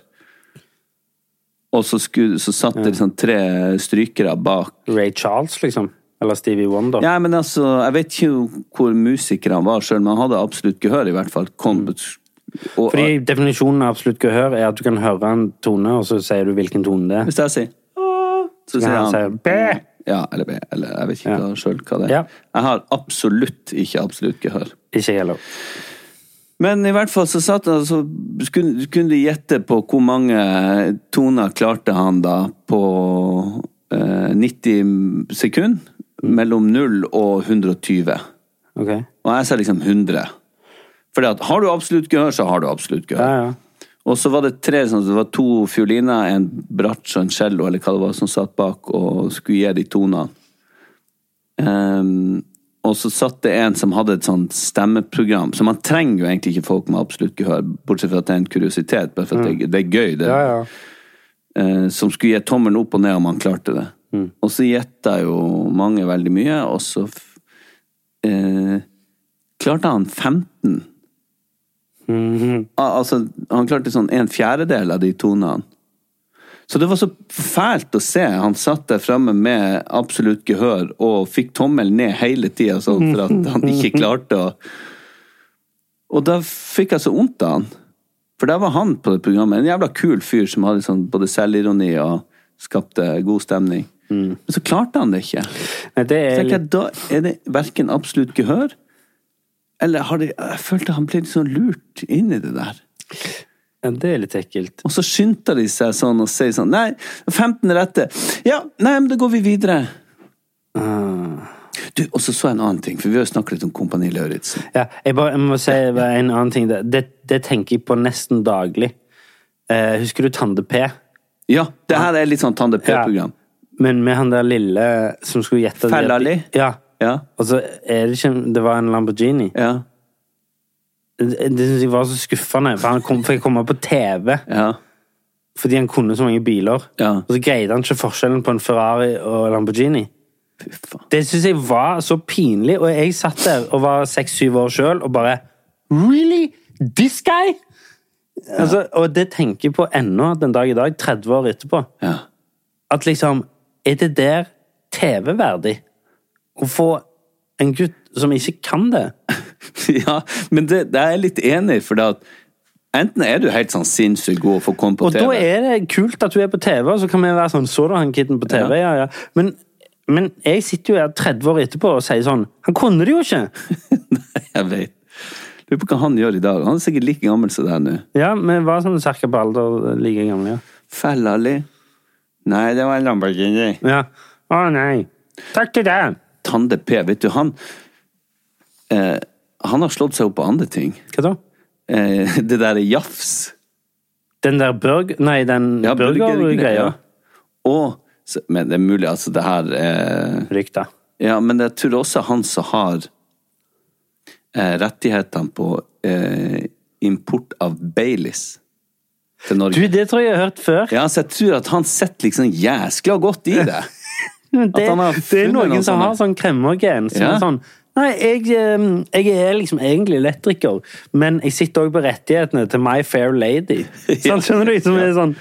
Speaker 3: Og så, skulle, så satt det liksom tre strykere bak.
Speaker 2: Ray Charles, liksom. Eller Stevie Wonder.
Speaker 3: Ja, men altså, Jeg vet ikke hvor musiker han var sjøl, men han hadde absolutt gehør, i hvert fall. Kom, og,
Speaker 2: Mm. Fordi definisjonen av absolutt gehør er at du kan høre en tone, og så sier du hvilken tone det er.
Speaker 3: Hvis jeg sier «Åh», så
Speaker 2: Nei,
Speaker 3: sier
Speaker 2: han
Speaker 3: han,
Speaker 2: sier, «Bæ!»
Speaker 3: Ja, eller bæ, eller jeg vet ikke hva selv hva det er.
Speaker 2: Ja.
Speaker 3: Jeg har absolutt ikke absolutt gehør.
Speaker 2: Ikke gjelder.
Speaker 3: Men i hvert fall så satt han, så kunne, kunne de gjette på hvor mange toner klarte han da på eh, 90 sekunder.
Speaker 2: Mm.
Speaker 3: Mellom 0 og 120.
Speaker 2: Ok.
Speaker 3: Og jeg sa liksom 100. Fordi at har du absolutt gehør, så har du absolutt gehør.
Speaker 2: Ja, ja.
Speaker 3: Og så var det tre, sånn, det var to fioliner, en bratsj og en cello, eller hva det var, som satt bak og skulle gi de tonene. Ehm, og så satt det en som hadde et sånt stemmeprogram, så man trenger jo egentlig ikke folk med absolutt gehør, bortsett fra at det er en kuriositet, bare for at det, det er gøy, det,
Speaker 2: Mm. Ja, ja.
Speaker 3: eh, som skulle gi tommelen opp og ned om han klarte det.
Speaker 2: Mm.
Speaker 3: Og så gjetta jo mange veldig mye, og så f- eh, klarte han 15. Al- Altså, han klarte sånn en fjerdedel av de tonene. Så det var så fælt å se. Han satt der framme med absolutt gehør og fikk tommelen ned hele tida sånn for at han ikke klarte å Og da fikk jeg så vondt av han. For der var han på det programmet. En jævla kul fyr som hadde sånn både selvironi og skapte god stemning. Men så klarte han det ikke.
Speaker 2: Nei, det
Speaker 3: Så
Speaker 2: er
Speaker 3: tenker jeg, da er det verken absolutt gehør eller har de, Jeg følte han ble litt sånn lurt inn i det der.
Speaker 2: Ja, det er litt ekkelt.
Speaker 3: Og så skynder de seg sånn og sier sånn Nei, 15 rette. Ja, nei, men da går vi videre.
Speaker 2: Ah.
Speaker 3: Du, og så så jeg en annen ting, for vi har jo snakket litt om Kompani Lauritzen.
Speaker 2: Ja, jeg, bare, jeg må si bare en annen ting. Det, det, det tenker jeg på nesten daglig. Eh, husker du Tande P?
Speaker 3: Ja, det her er litt sånn Tande P-program.
Speaker 2: Men med han der lille som skulle gjette det-
Speaker 3: Fellali?
Speaker 2: Ja.
Speaker 3: Ja.
Speaker 2: Og så er det ikke Det var en Lamborghini.
Speaker 3: Ja.
Speaker 2: Det, det syns jeg var så skuffende, for han kom, fikk komme på TV
Speaker 3: Ja.
Speaker 2: fordi han kunne så mange biler.
Speaker 3: Ja.
Speaker 2: Og så greide han ikke forskjellen på en Ferrari og Lamborghini.
Speaker 3: Fy faen.
Speaker 2: Det syns jeg var så pinlig, og jeg satt der og var seks-syv år sjøl og bare Really? This guy? Altså, og det tenker jeg på ennå den dag i dag, 30 år etterpå.
Speaker 3: Ja.
Speaker 2: At liksom Er det der TV-verdig å få en gutt som ikke kan det?
Speaker 3: ja, men det, det er jeg litt enig i, for det at enten er du helt sånn sinnssykt god for å komme på
Speaker 2: Og
Speaker 3: TV
Speaker 2: da er det kult at du er på TV, og så kan vi være sånn Så du han kiden på TV? Ja, ja. Men, men jeg sitter jo her 30 år etterpå og sier sånn Han kunne det jo ikke!
Speaker 3: Jeg vet. Lurer på hva han gjør i dag. Han er sikkert like gammel som deg nå.
Speaker 2: Ja, vi var sånn cirka på alder like gamle, ja.
Speaker 3: Fellali. Nei, det var en Lamborghini.
Speaker 2: Ja. Å nei. Takk til deg.
Speaker 3: Tande P, vet du, han eh, Han har slått seg opp på andre ting.
Speaker 2: Hva da?
Speaker 3: eh, det der jafs.
Speaker 2: Den der burg... Nei, den
Speaker 3: Ja,
Speaker 2: burgergreia.
Speaker 3: burgergreia. Og så- Men det er mulig, altså, det her eh,
Speaker 2: Rykta.
Speaker 3: Ja, men jeg tror også han som har eh, rettighetene på eh, import av Baileys til Norge.
Speaker 2: Du, det tror jeg jeg har hørt før.
Speaker 3: Ja, så jeg tror at han sitter liksom jæskla godt i det.
Speaker 2: Men det,
Speaker 3: han har
Speaker 2: det er
Speaker 3: funnet
Speaker 2: noen
Speaker 3: noen
Speaker 2: som
Speaker 3: sånne.
Speaker 2: har sånn kremmergen. Som
Speaker 3: Ja.
Speaker 2: er sånn Nei, jeg, ehm, jeg er liksom egentlig elektriker, men jeg sitter òg på rettighetene til My Fair Lady. Sånn, skjønner du? Som er sånn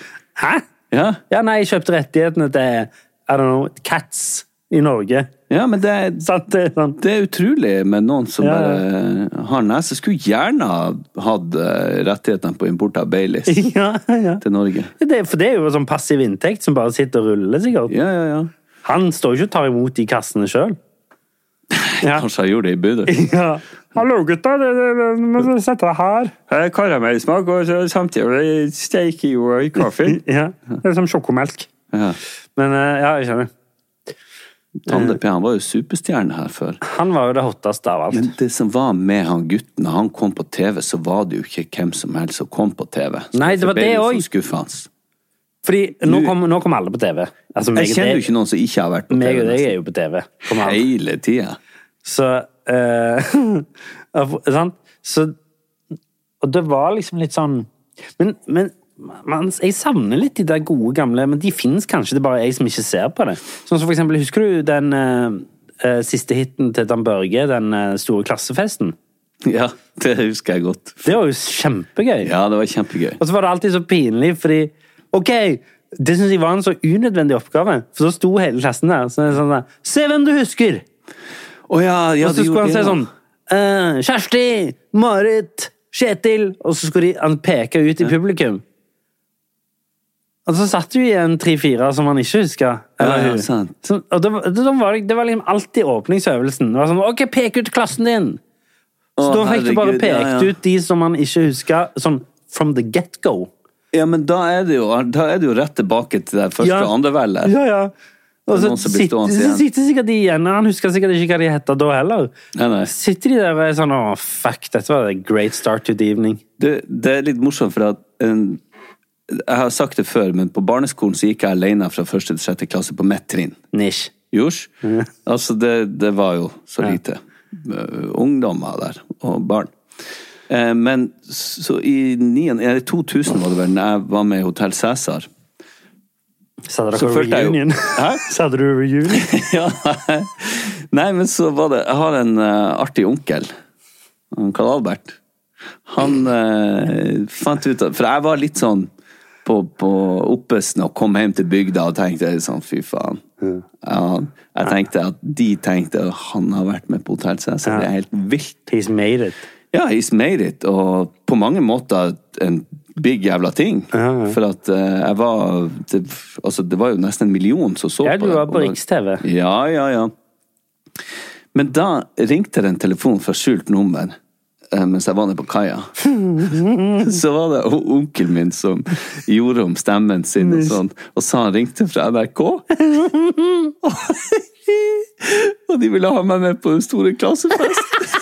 Speaker 2: Hæ?
Speaker 3: Ja,
Speaker 2: Ja, nei, jeg kjøpte rettighetene til I don't know, Cats i Norge.
Speaker 3: ja men det, er-
Speaker 2: Sant? Det er sånn.
Speaker 3: det er utrolig med noen som
Speaker 2: Ja, ja.
Speaker 3: bare har nese. Skulle gjerne ha hatt eh, rettighetene på import av Baileys
Speaker 2: Ja, ja.
Speaker 3: til Norge.
Speaker 2: Det, for det er jo sånn passiv inntekt som bare sitter og ruller, sikkert.
Speaker 3: Ja, ja, ja.
Speaker 2: Han står jo ikke og tar imot de kassene sjøl. Ja.
Speaker 3: Kanskje jeg gjorde det i Budø.
Speaker 2: ja. Hallo, gutta. Du må sette deg her.
Speaker 3: Eh, Karamellsmak, og samtidig steker jo i kaffe.
Speaker 2: Ja. Det er som sjokomelk.
Speaker 3: Ja.
Speaker 2: Men eh, ja, jeg skjønner.
Speaker 3: Tande P, han var jo superstjerne her før.
Speaker 2: Han var jo det hotteste av alt.
Speaker 3: Men det som var med han gutten, når han kom på TV, så var det jo ikke hvem som helst som kom på TV. Så
Speaker 2: Nei, det var det
Speaker 3: ble litt
Speaker 2: også.
Speaker 3: sånn skuffende.
Speaker 2: Fordi nå kom, nå kom alle på TV. Altså, meg
Speaker 3: Jeg
Speaker 2: og
Speaker 3: kjenner
Speaker 2: deg-
Speaker 3: jo ikke noen som ikke har vært på
Speaker 2: Meg
Speaker 3: TV
Speaker 2: og deg
Speaker 3: nesten
Speaker 2: er jo på TV. Kom an.
Speaker 3: hele tida.
Speaker 2: Så eh, av- Sant? Så Og det var liksom litt sånn Men, men man, jeg savner litt de der gode, gamle Men de fins kanskje, det er bare jeg som ikke ser på det. Sånn som for eksempel, Husker du den eh, eh, siste hiten til Dan Børge, den eh, store klassefesten?
Speaker 3: Ja, det husker jeg godt.
Speaker 2: Det var jo kjempegøy.
Speaker 3: Ja, det var kjempegøy.
Speaker 2: Og så var det alltid så pinlig, fordi OK, det syns jeg var en så unødvendig oppgave, for så sto hele klassen der. Så er det sånn der, Se hvem du husker!
Speaker 3: Å ja, ja,
Speaker 2: og så
Speaker 3: de gjorde
Speaker 2: skulle han si
Speaker 3: det, ja.
Speaker 2: sånn «Eh, Kjersti, Marit, Kjetil Og så skulle de, han peke ut i publikum. Og så satt du igjen tre-fire som han ikke huska.
Speaker 3: Ja, ja, sant.
Speaker 2: Så, og det, var- det, da var, det- det var liksom alltid åpningsøvelsen. Det var sånn OK, pek ut klassen din! Så
Speaker 3: Å,
Speaker 2: da fikk du bare
Speaker 3: herregud, ja,
Speaker 2: pekt
Speaker 3: ja.
Speaker 2: ut de som han ikke huska, sånn from the get go.
Speaker 3: Ja, men da er det jo, da er det jo rett tilbake til det første
Speaker 2: Ja.
Speaker 3: og andre vellet.
Speaker 2: Ja, ja.
Speaker 3: Det
Speaker 2: Og
Speaker 3: er
Speaker 2: så
Speaker 3: noen som blir
Speaker 2: sitter,
Speaker 3: stående
Speaker 2: så
Speaker 3: igjen.
Speaker 2: sitter sikkert de igjen, og han husker sikkert ikke hva de heter da heller.
Speaker 3: Nei, nei.
Speaker 2: Sitter de der og er sånn Å, fuck, dette var a great start to the evening.
Speaker 3: Det, det er litt morsomt, for at en, jeg har sagt det før, men på barneskolen så gikk jeg alene fra første til sjette klasse på mitt trinn.
Speaker 2: Nish.
Speaker 3: Jors. Altså, det, det var jo så lite eh, ungdommer der, og barn. Eh, Men så i 9, eller 2000 var det vel, når jeg var med i Hotell Cæsar.
Speaker 2: Sa dere
Speaker 3: Så
Speaker 2: på
Speaker 3: følte jeg jo-
Speaker 2: reunion?
Speaker 3: Hæ?
Speaker 2: Sa dere reunion?
Speaker 3: Ja. Nei, men så var det Jeg har en eh, artig onkel, han Karl Albert. Han eh, fant ut at For jeg var litt sånn på, på oppesen og kom hjem til bygda og tenkte sånn, fy faen. Ja, jeg tenkte at de tenkte at han har vært med på Hotell Cæsar. Det er helt vilt.
Speaker 2: He's made it.
Speaker 3: Ja, he's made it, og på mange måter en big jævla ting. For at eh, jeg var det, Altså, det var jo nesten en million som så
Speaker 2: Ja,
Speaker 3: på
Speaker 2: du
Speaker 3: det.
Speaker 2: var på
Speaker 3: Og da-
Speaker 2: Riks-TV.
Speaker 3: Ja, ja, ja. Men da ringte det en telefon fra skjult nummer eh, mens jeg var nede på kaia. Så var det o- onkelen min som gjorde om stemmen sin og sånn, og sa han ringte fra NRK. Og de ville ha meg med på den store klassefesten.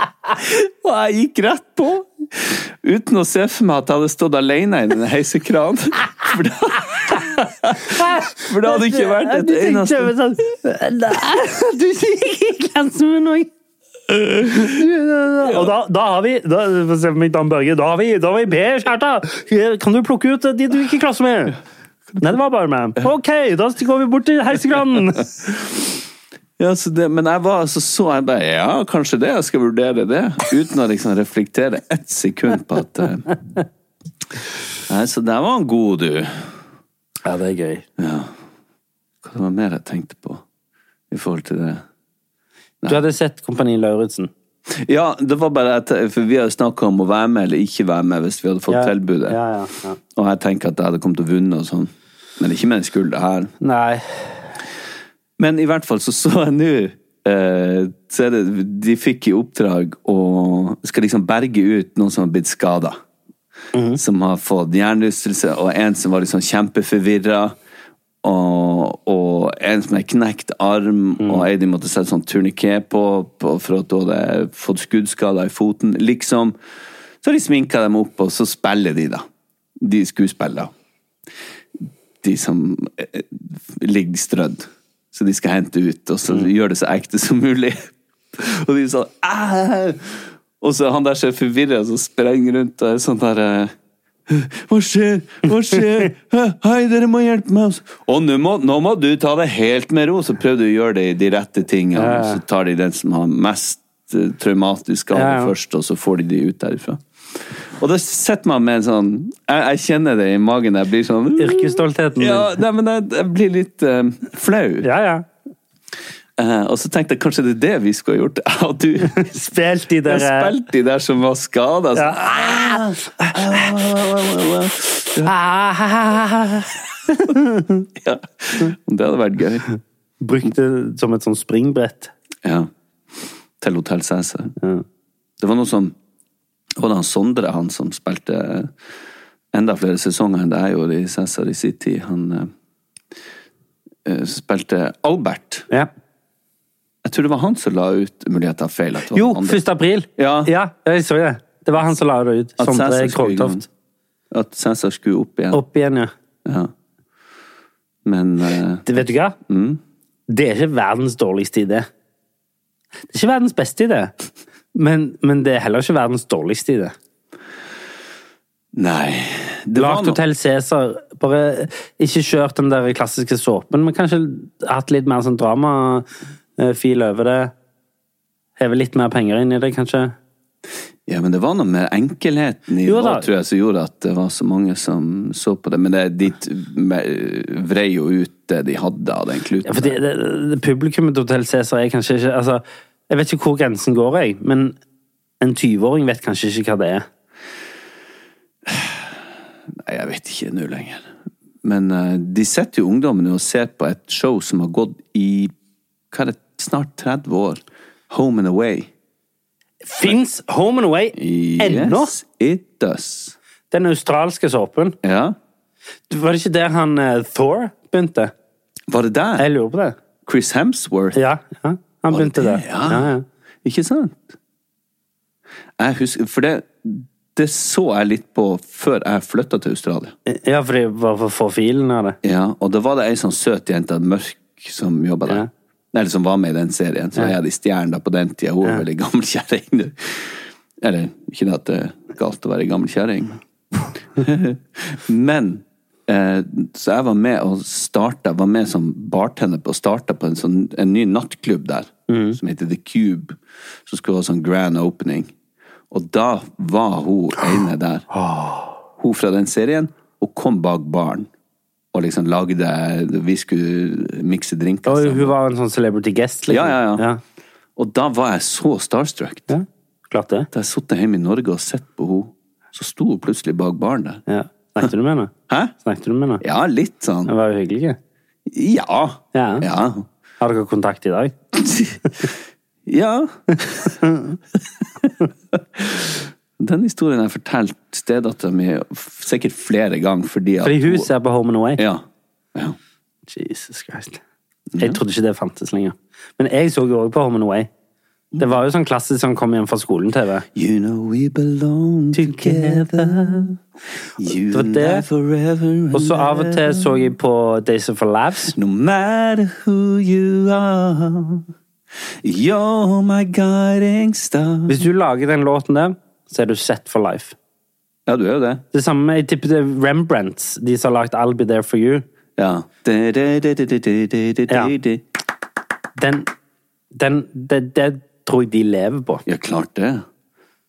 Speaker 3: og jeg gikk rett på, uten å se for meg at jeg hadde stått alene i den heisekranen. For da, for det hadde ikke vært et
Speaker 2: Du tenkte
Speaker 3: eneste
Speaker 2: over sånn «Nei, Du gikk i klassen med noen! Og da, da har vi da, få se på meg, Dan Børge. Da har vi, da har vi Per Skjærta! Kan du plukke ut de du gikk i klasse med? Nei, det var bare meg. Ok, da går vi bort til heisekranen!
Speaker 3: Ja, så det, men jeg var altså så jeg bare, Ja, kanskje det, jeg skal vurdere det. Uten å liksom reflektere ett sekund på at eh, Nei, så der var han god, du.
Speaker 2: Ja, det er gøy.
Speaker 3: Hva det var mer jeg tenkte på i forhold til det?
Speaker 2: Du hadde sett Kompani Lauritzen.
Speaker 3: Ja, det var bare at For vi har jo snakka om å være med eller ikke være med hvis vi hadde fått tilbudet.
Speaker 2: Ja, ja, ja.
Speaker 3: Og jeg tenker at jeg hadde kommet til å vunne og sånn. Men ikke med en skulder her.
Speaker 2: Nei.
Speaker 3: Men i hvert fall så så jeg nå eh, så er det, De fikk i oppdrag å skal liksom berge ut noen som har blitt skada. Som har fått hjernerystelse, og en som var liksom kjempeforvirra. sånn og, og en som hadde knekt arm, og ei de måtte sette sånn turniké på, på for at hun hadde fått skuddskader i foten. Liksom. Så de sminka dem opp, og så spiller de, da. De skuespiller. De som eh, ligger strødd. Så de skal hente ut, og så
Speaker 2: Mm.
Speaker 3: gjør det så ekte som mulig. og de er sånn «Æ!» Og så han der ser forvirra og sprenger rundt og er sånn der eh, hva skjer? Hva skjer? Hæ? Hei, dere må hjelpe meg! Og nå må, nå må du ta det helt med ro! Så prøv du å gjøre det i de rette tingene, og så tar de den som har mest eh, traumatisk skade
Speaker 2: Ja, ja.
Speaker 3: først, og så får de de ut derifra. Og da sitter man med en sånn Jeg, jeg kjenner det i magen. Jeg blir sånn
Speaker 2: Yrkesstoltheten din.
Speaker 3: Ja, nei, men jeg, jeg blir litt eh, flau.
Speaker 2: Mm. Ja, ja.
Speaker 3: Eh, og så tenkte jeg kanskje det er det vi skulle ha gjort. Ja, du
Speaker 2: Spilt de der eh,
Speaker 3: jeg spilte de der som var skada.
Speaker 2: Ja.
Speaker 3: Ja. Det hadde vært gøy.
Speaker 2: Brukte som et sånn springbrett.
Speaker 3: Ja. Til Hotell Cæsar. Det var noe som Det var da han Sondre, han som spilte eh, enda flere sesonger enn det jeg gjorde i Cæsar i sin tid, han eh, eh, spilte Albert.
Speaker 2: Ja.
Speaker 3: Jeg tror det var han som la ut muligheter for feil. at det var
Speaker 2: Jo,
Speaker 3: han andre.
Speaker 2: 1. april!
Speaker 3: Ja.
Speaker 2: ja, jeg så det. Det var han som la det ut.
Speaker 3: At
Speaker 2: Sondre
Speaker 3: Cæsar skulle i gang.
Speaker 2: Krogtoft.
Speaker 3: At Cæsar skulle opp igjen.
Speaker 2: Opp igjen, ja.
Speaker 3: Ja. Men eh,
Speaker 2: Det, vet du hva? Det er ikke verdens dårligste idé. Det er ikke verdens beste idé, men, men det er heller ikke verdens dårligste idé.
Speaker 3: Nei. Det var
Speaker 2: Lagt
Speaker 3: noe-
Speaker 2: Hotell Cæsar. Bare ikke kjørt den der klassiske såpen, men kanskje hatt litt mer sånn dramafil over det. Heve litt mer penger inn i det, kanskje.
Speaker 3: Ja, men det var noe med enkelheten i det,
Speaker 2: Jo da.
Speaker 3: tror jeg, som gjorde at det var så mange som så på det. Men det, de t- me- vrei jo ut det de hadde av den kluten.
Speaker 2: Ja, for det, det, det publikummet til Hotell Cæsar er kanskje ikke altså, Jeg vet ikke hvor grensen går, jeg, men en 20-åring vet kanskje ikke hva det er.
Speaker 3: Nei, jeg vet ikke nå lenger. Men eh, de sitter jo ungdommen og ser på et show som har gått i hva er det, snart 30 år. Home and Away.
Speaker 2: Fins Home and Away ennå?
Speaker 3: Yes, it does.
Speaker 2: Den australske såpen.
Speaker 3: Ja.
Speaker 2: Var det ikke der han eh, Thor begynte?
Speaker 3: Var det der?
Speaker 2: Jeg lurer på det.
Speaker 3: Chris Hemsworth?
Speaker 2: Ja, ja. han
Speaker 3: Var det
Speaker 2: begynte
Speaker 3: det?
Speaker 2: der.
Speaker 3: Ja.
Speaker 2: Ja, ja.
Speaker 3: Ikke sant? Jeg husker, for det, det så jeg litt på før jeg flytta til Australia.
Speaker 2: ja, for det var for å få filen av det.
Speaker 3: Ja, og da var det ei sånn søt jente, mørk, som jobba der.
Speaker 2: Ja.
Speaker 3: Eller som var med i den serien. Så jeg hadde stjerne da på den tida. Hun var veldig gammel kjerring. nå. Eller ikke det at det er galt å være gammel kjerring. Men eh, så jeg var med og starta, var med som bartender på, og starta på en, sånn, en ny nattklubb der, som heter The Cube, som skulle ha sånn grand opening. Og da var hun ene der hun fra den serien, og kom bak baren. Og liksom lagde Vi skulle mikse drinker
Speaker 2: Og
Speaker 3: sammen.
Speaker 2: hun var en sånn celebrity guest.
Speaker 3: Ja, ja, ja. Og da var jeg så starstruck.
Speaker 2: Ja, Klart det.
Speaker 3: Da jeg satt hjemme i Norge og sett på henne, så sto hun plutselig bak baren der.
Speaker 2: Ja. Snakket du med henne?
Speaker 3: Hæ?
Speaker 2: Snakket du med henne?
Speaker 3: Ja, litt sånn.
Speaker 2: Det var jo hyggelig.
Speaker 3: Ja.
Speaker 2: Ja.
Speaker 3: Ja.
Speaker 2: Har dere kontakt i dag?
Speaker 3: ja. Den historien har jeg fortalt stedattera mi sikkert flere ganger fordi at
Speaker 2: Fordi hun ser på Home and Away.
Speaker 3: Ja. ja.
Speaker 2: Jesus Christ. Jeg trodde ikke det fantes lenger. Men jeg så jo òg på Home and Away. Det var jo sånn klassisk som kom hjem fra skolen-TV.
Speaker 3: You know we belong together. You
Speaker 2: Det var
Speaker 3: and I
Speaker 2: det.
Speaker 3: forever and
Speaker 2: Og så av og til
Speaker 3: ever.
Speaker 2: så jeg på Days of Our Lives.
Speaker 3: No matter who you are, you're my guiding star.
Speaker 2: Hvis du lager den låten der, så er du set for life.
Speaker 3: Ja, du er jo det.
Speaker 2: Det samme, jeg tipper det er Rembrandts, de som har lagt I'll Be There For You.
Speaker 3: Ja. Da, da, da, da, da, da, da, da,
Speaker 2: Ja.
Speaker 3: da.
Speaker 2: Den, den, det, det tror jeg de lever på.
Speaker 3: Ja, klart det.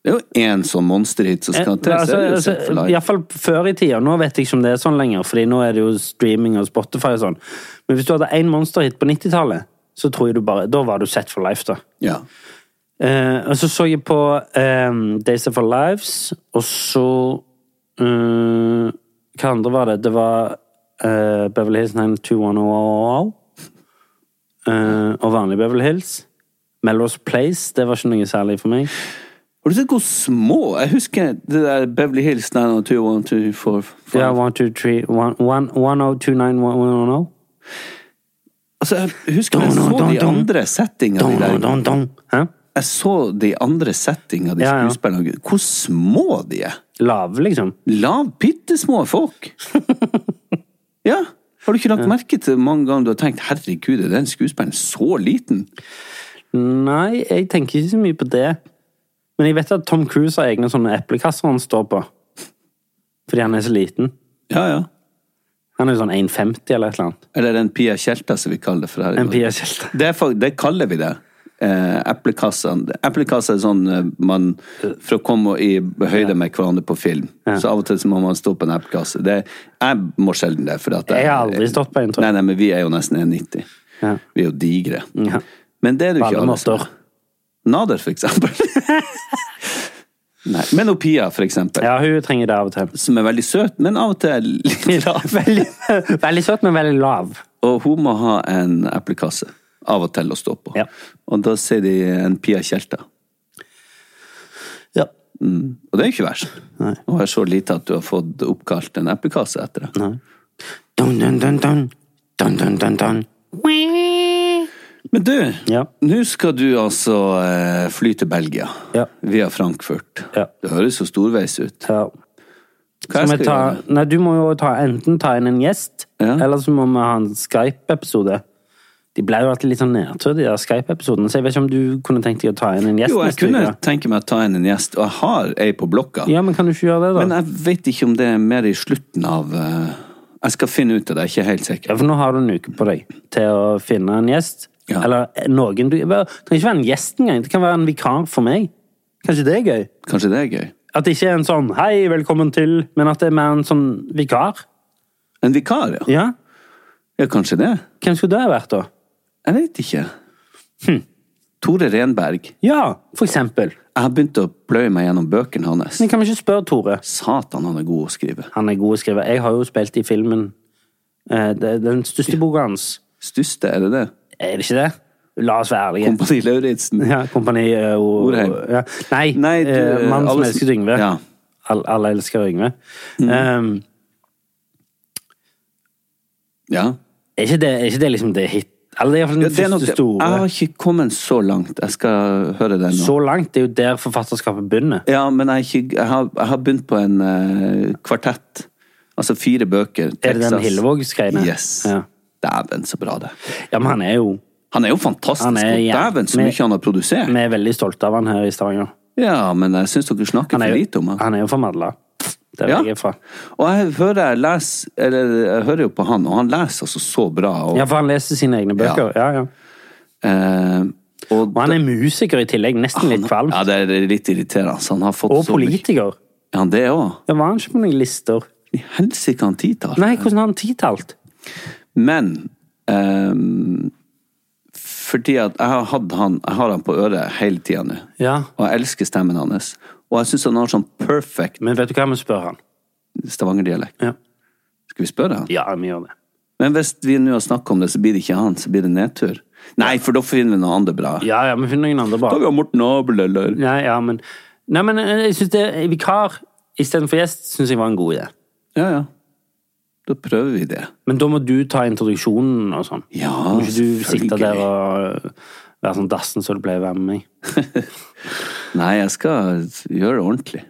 Speaker 3: Det er jo én sånn monsterhit som skal til. så
Speaker 2: Altså,
Speaker 3: er det jo
Speaker 2: altså,
Speaker 3: Set for Life.
Speaker 2: Iallfall før i tida. Nå vet jeg ikke om det er sånn lenger, Fordi nå er det jo streaming og Spotify og sånn. Men hvis du hadde én monsterhit på 90-tallet, så tror jeg du bare Da var du set for life, da.
Speaker 3: Ja.
Speaker 2: Eh, og så så jeg på eh, Days of Our Lives, og så eh, Hva andre var det? Det var eh, Beverly Hills 90210 eh, og vanlig Beverly Hills. Melrose Place, det var ikke noe særlig for meg.
Speaker 3: Har du sett hvor små Jeg husker det der Beverly oh Hills 902, 1, 2, 4, 5.
Speaker 2: oh, Ja, 1, 2, 3, 1, 1, 1, 0, 2, 9, 1, 1, 1, 0.
Speaker 3: Altså, jeg husker jeg
Speaker 2: Dun,
Speaker 3: så
Speaker 2: dun,
Speaker 3: de
Speaker 2: dun.
Speaker 3: andre settingene de
Speaker 2: Dong,
Speaker 3: der-
Speaker 2: dong, dong. Hæ?
Speaker 3: Jeg så de andre settingene de
Speaker 2: Ja, ja.
Speaker 3: skuespillerne Hvor små de er!
Speaker 2: Lav, liksom.
Speaker 3: Lav, bittesmå folk! ja. Har du ikke lagt merke til mange ganger du har tenkt 'herregud, er den skuespilleren så liten'?
Speaker 2: Nei, jeg tenker ikke så mye på det. Men jeg vet at Tom Cruise har egne sånne eplekasser han står på. Fordi han er så liten.
Speaker 3: Ja, ja.
Speaker 2: Han er jo sånn 1,50 eller et eller annet.
Speaker 3: Eller en Pia Tjelta, som vi kaller det for her. i
Speaker 2: En
Speaker 3: Norge.
Speaker 2: Pia-kjelte.
Speaker 3: Det, er fak- det kaller vi det. Eh, Eplekassene. Eplekassa er sånn eh, man For å komme i høyde med hverandre på film. Så av og til så må man stå på en eplekasse. Det, jeg må sjelden det. For at
Speaker 2: Jeg har aldri stått på en, tror
Speaker 3: Nei,
Speaker 2: jeg.
Speaker 3: nei, men vi er jo nesten 1,90.
Speaker 2: Ja.
Speaker 3: Vi er jo digre.
Speaker 2: Ja.
Speaker 3: Men det er du
Speaker 2: På
Speaker 3: ikke.
Speaker 2: alle
Speaker 3: alle som er.
Speaker 2: måter.
Speaker 3: Nader, for eksempel. nei. Men og Pia, for eksempel.
Speaker 2: Ja, hun trenger det av og til.
Speaker 3: Som er veldig søt, men av og til litt lav.
Speaker 2: Veldig, veldig søt, men veldig lav.
Speaker 3: Og hun må ha en eplekasse av og til å stå på.
Speaker 2: Ja.
Speaker 3: Og da sier de en Pia Tjelta.
Speaker 2: Ja.
Speaker 3: Og det er jo ikke verst. Å være så lite at du har fått oppkalt en eplekasse etter deg.
Speaker 2: Dun, dun, dun, dun. Dun, dun, dun, dun.
Speaker 3: Men du,
Speaker 2: Ja.
Speaker 3: nå skal du altså eh, fly til Belgia.
Speaker 2: Ja.
Speaker 3: Via Frankfurt.
Speaker 2: Ja.
Speaker 3: Det høres jo storveis ut.
Speaker 2: Ja.
Speaker 3: Hva
Speaker 2: Skal
Speaker 3: jeg
Speaker 2: vi
Speaker 3: skal
Speaker 2: ta,
Speaker 3: gjøre?
Speaker 2: nei, du må jo ta, enten ta inn en gjest,
Speaker 3: Ja.
Speaker 2: eller så må vi ha en Skype-episode. De ble jo alltid litt sånn nedtur, de der Skype-episodene, så jeg vet ikke om du kunne tenkt deg å ta inn en gjest
Speaker 3: Jo, jeg
Speaker 2: neste
Speaker 3: kunne
Speaker 2: uke.
Speaker 3: tenke meg å ta inn en gjest, og jeg har ei på blokka.
Speaker 2: Ja, men kan du ikke gjøre det, da?
Speaker 3: Men eh, jeg vet ikke om det er mer i slutten av eh, Jeg skal finne ut av det, jeg er ikke helt sikker.
Speaker 2: Ja, for nå har du en uke på deg til å finne en gjest.
Speaker 3: Ja.
Speaker 2: Eller eh, noen du Det trenger ikke være en gjest engang, det kan være en vikar for meg. Kanskje det er gøy?
Speaker 3: Kanskje det er gøy?
Speaker 2: At det ikke er en sånn 'hei, velkommen til', men at det er mer en sånn vikar.
Speaker 3: En vikar, ja.
Speaker 2: Ja,
Speaker 3: Ja, kanskje det.
Speaker 2: Hvem skulle det ha vært, da?
Speaker 3: Jeg vet ikke.
Speaker 2: Hm.
Speaker 3: Tore Renberg.
Speaker 2: Ja, for eksempel.
Speaker 3: Jeg har begynt å pløye meg gjennom bøkene hans.
Speaker 2: Men kan vi ikke spørre Tore?
Speaker 3: Satan, han er god å skrive.
Speaker 2: Han er god å skrive. Jeg har jo spilt i filmen eh, det, Den største boka hans.
Speaker 3: Stuste, er det det?
Speaker 2: Er det ikke det? La oss være ærlige.
Speaker 3: Kompani Lauritzen.
Speaker 2: ja, kompani eh, o-
Speaker 3: Orheim.
Speaker 2: Ja. Nei,
Speaker 3: Nei, du,
Speaker 2: eh, Mannen som
Speaker 3: alle-
Speaker 2: elsket Yngve.
Speaker 3: Ja. Mm.
Speaker 2: All, alle elsker Yngve. Eh,
Speaker 3: Ja.
Speaker 2: er, ikke det, er ikke det liksom det hit Eller det er iallfall
Speaker 3: Ja, Det Ah, er nok,
Speaker 2: den første
Speaker 3: jeg har
Speaker 2: store.
Speaker 3: ikke kommet så langt. Jeg skal høre det nå.
Speaker 2: Så langt. Det er jo der forfatterskapet begynner.
Speaker 3: Ja, men jeg, er ikke, jeg, har, jeg har begynt på en eh, kvartett. Altså fire bøker.
Speaker 2: Er det den
Speaker 3: Texas.
Speaker 2: Hillevåg-greiene?
Speaker 3: Yes.
Speaker 2: Ja.
Speaker 3: Dæven, så bra det.
Speaker 2: Ja, men han er jo
Speaker 3: Han er jo fantastisk.
Speaker 2: Han er
Speaker 3: og
Speaker 2: jæv-
Speaker 3: Dæven, så
Speaker 2: med-
Speaker 3: mye han har produsert.
Speaker 2: Vi er veldig stolte av han her i Stavanger.
Speaker 3: Ja, men jeg syns dere snakker
Speaker 2: Han er
Speaker 3: for
Speaker 2: jo,
Speaker 3: lite om han.
Speaker 2: han er jo fra Madla. Der
Speaker 3: Ja.
Speaker 2: jeg er fra.
Speaker 3: Og jeg hører, jeg, leser, eller, jeg hører jo på han, og han leser altså så bra. Og,
Speaker 2: Ja, for han leser sine egne bøker. Ja, ja.
Speaker 3: eh, og
Speaker 2: Og han er musiker i tillegg, nesten litt kvalm.
Speaker 3: ja, det er litt irriterende. så Han har fått
Speaker 2: Og
Speaker 3: så mye-
Speaker 2: politiker.
Speaker 3: Ja, han det òg.
Speaker 2: Det var han ikke på noen lister.
Speaker 3: I helsike, han titar.
Speaker 2: Nei, hvordan har han titalt?
Speaker 3: Men eh, fordi at jeg har, hatt han, jeg har han på øret hele tida nå.
Speaker 2: Ja.
Speaker 3: Og jeg elsker stemmen hans. Og jeg syns han har sånn perfect
Speaker 2: Men vet du hva, vi spør han.
Speaker 3: Stavanger-dialekt.
Speaker 2: Ja.
Speaker 3: Skal vi spørre han?
Speaker 2: Ja, vi gjør det.
Speaker 3: Men hvis vi nå har snakket om det, så blir det ikke han, så blir det nedtur. Nei, for da finner vi noe andre bra.
Speaker 2: Ja, ja, vi finner noen andre bra.
Speaker 3: Da har vi Morten Abel, eller
Speaker 2: Nei, ja, men, nei, men eh, jeg synes det vikar istedenfor gjest syns jeg var en god idé.
Speaker 3: Ja, ja. Da prøver vi det.
Speaker 2: Men da må du ta introduksjonen og sånn.
Speaker 3: Ja,
Speaker 2: Må ikke du sitte
Speaker 3: selvfølgelig.
Speaker 2: der og eh, være sånn dassen som du pleier å være med meg.
Speaker 3: Nei, jeg skal gjøre det ordentlig.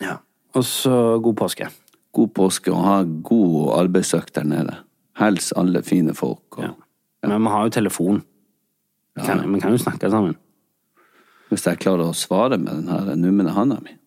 Speaker 2: Ja. Og så god påske.
Speaker 3: God påske og ha god arbeidsøkt der nede. Hils alle fine folk. Og,
Speaker 2: Men vi har jo telefon. Vi kan, vi kan jo snakke sammen.
Speaker 3: Hvis jeg klarer å svare med den her numne handa mi.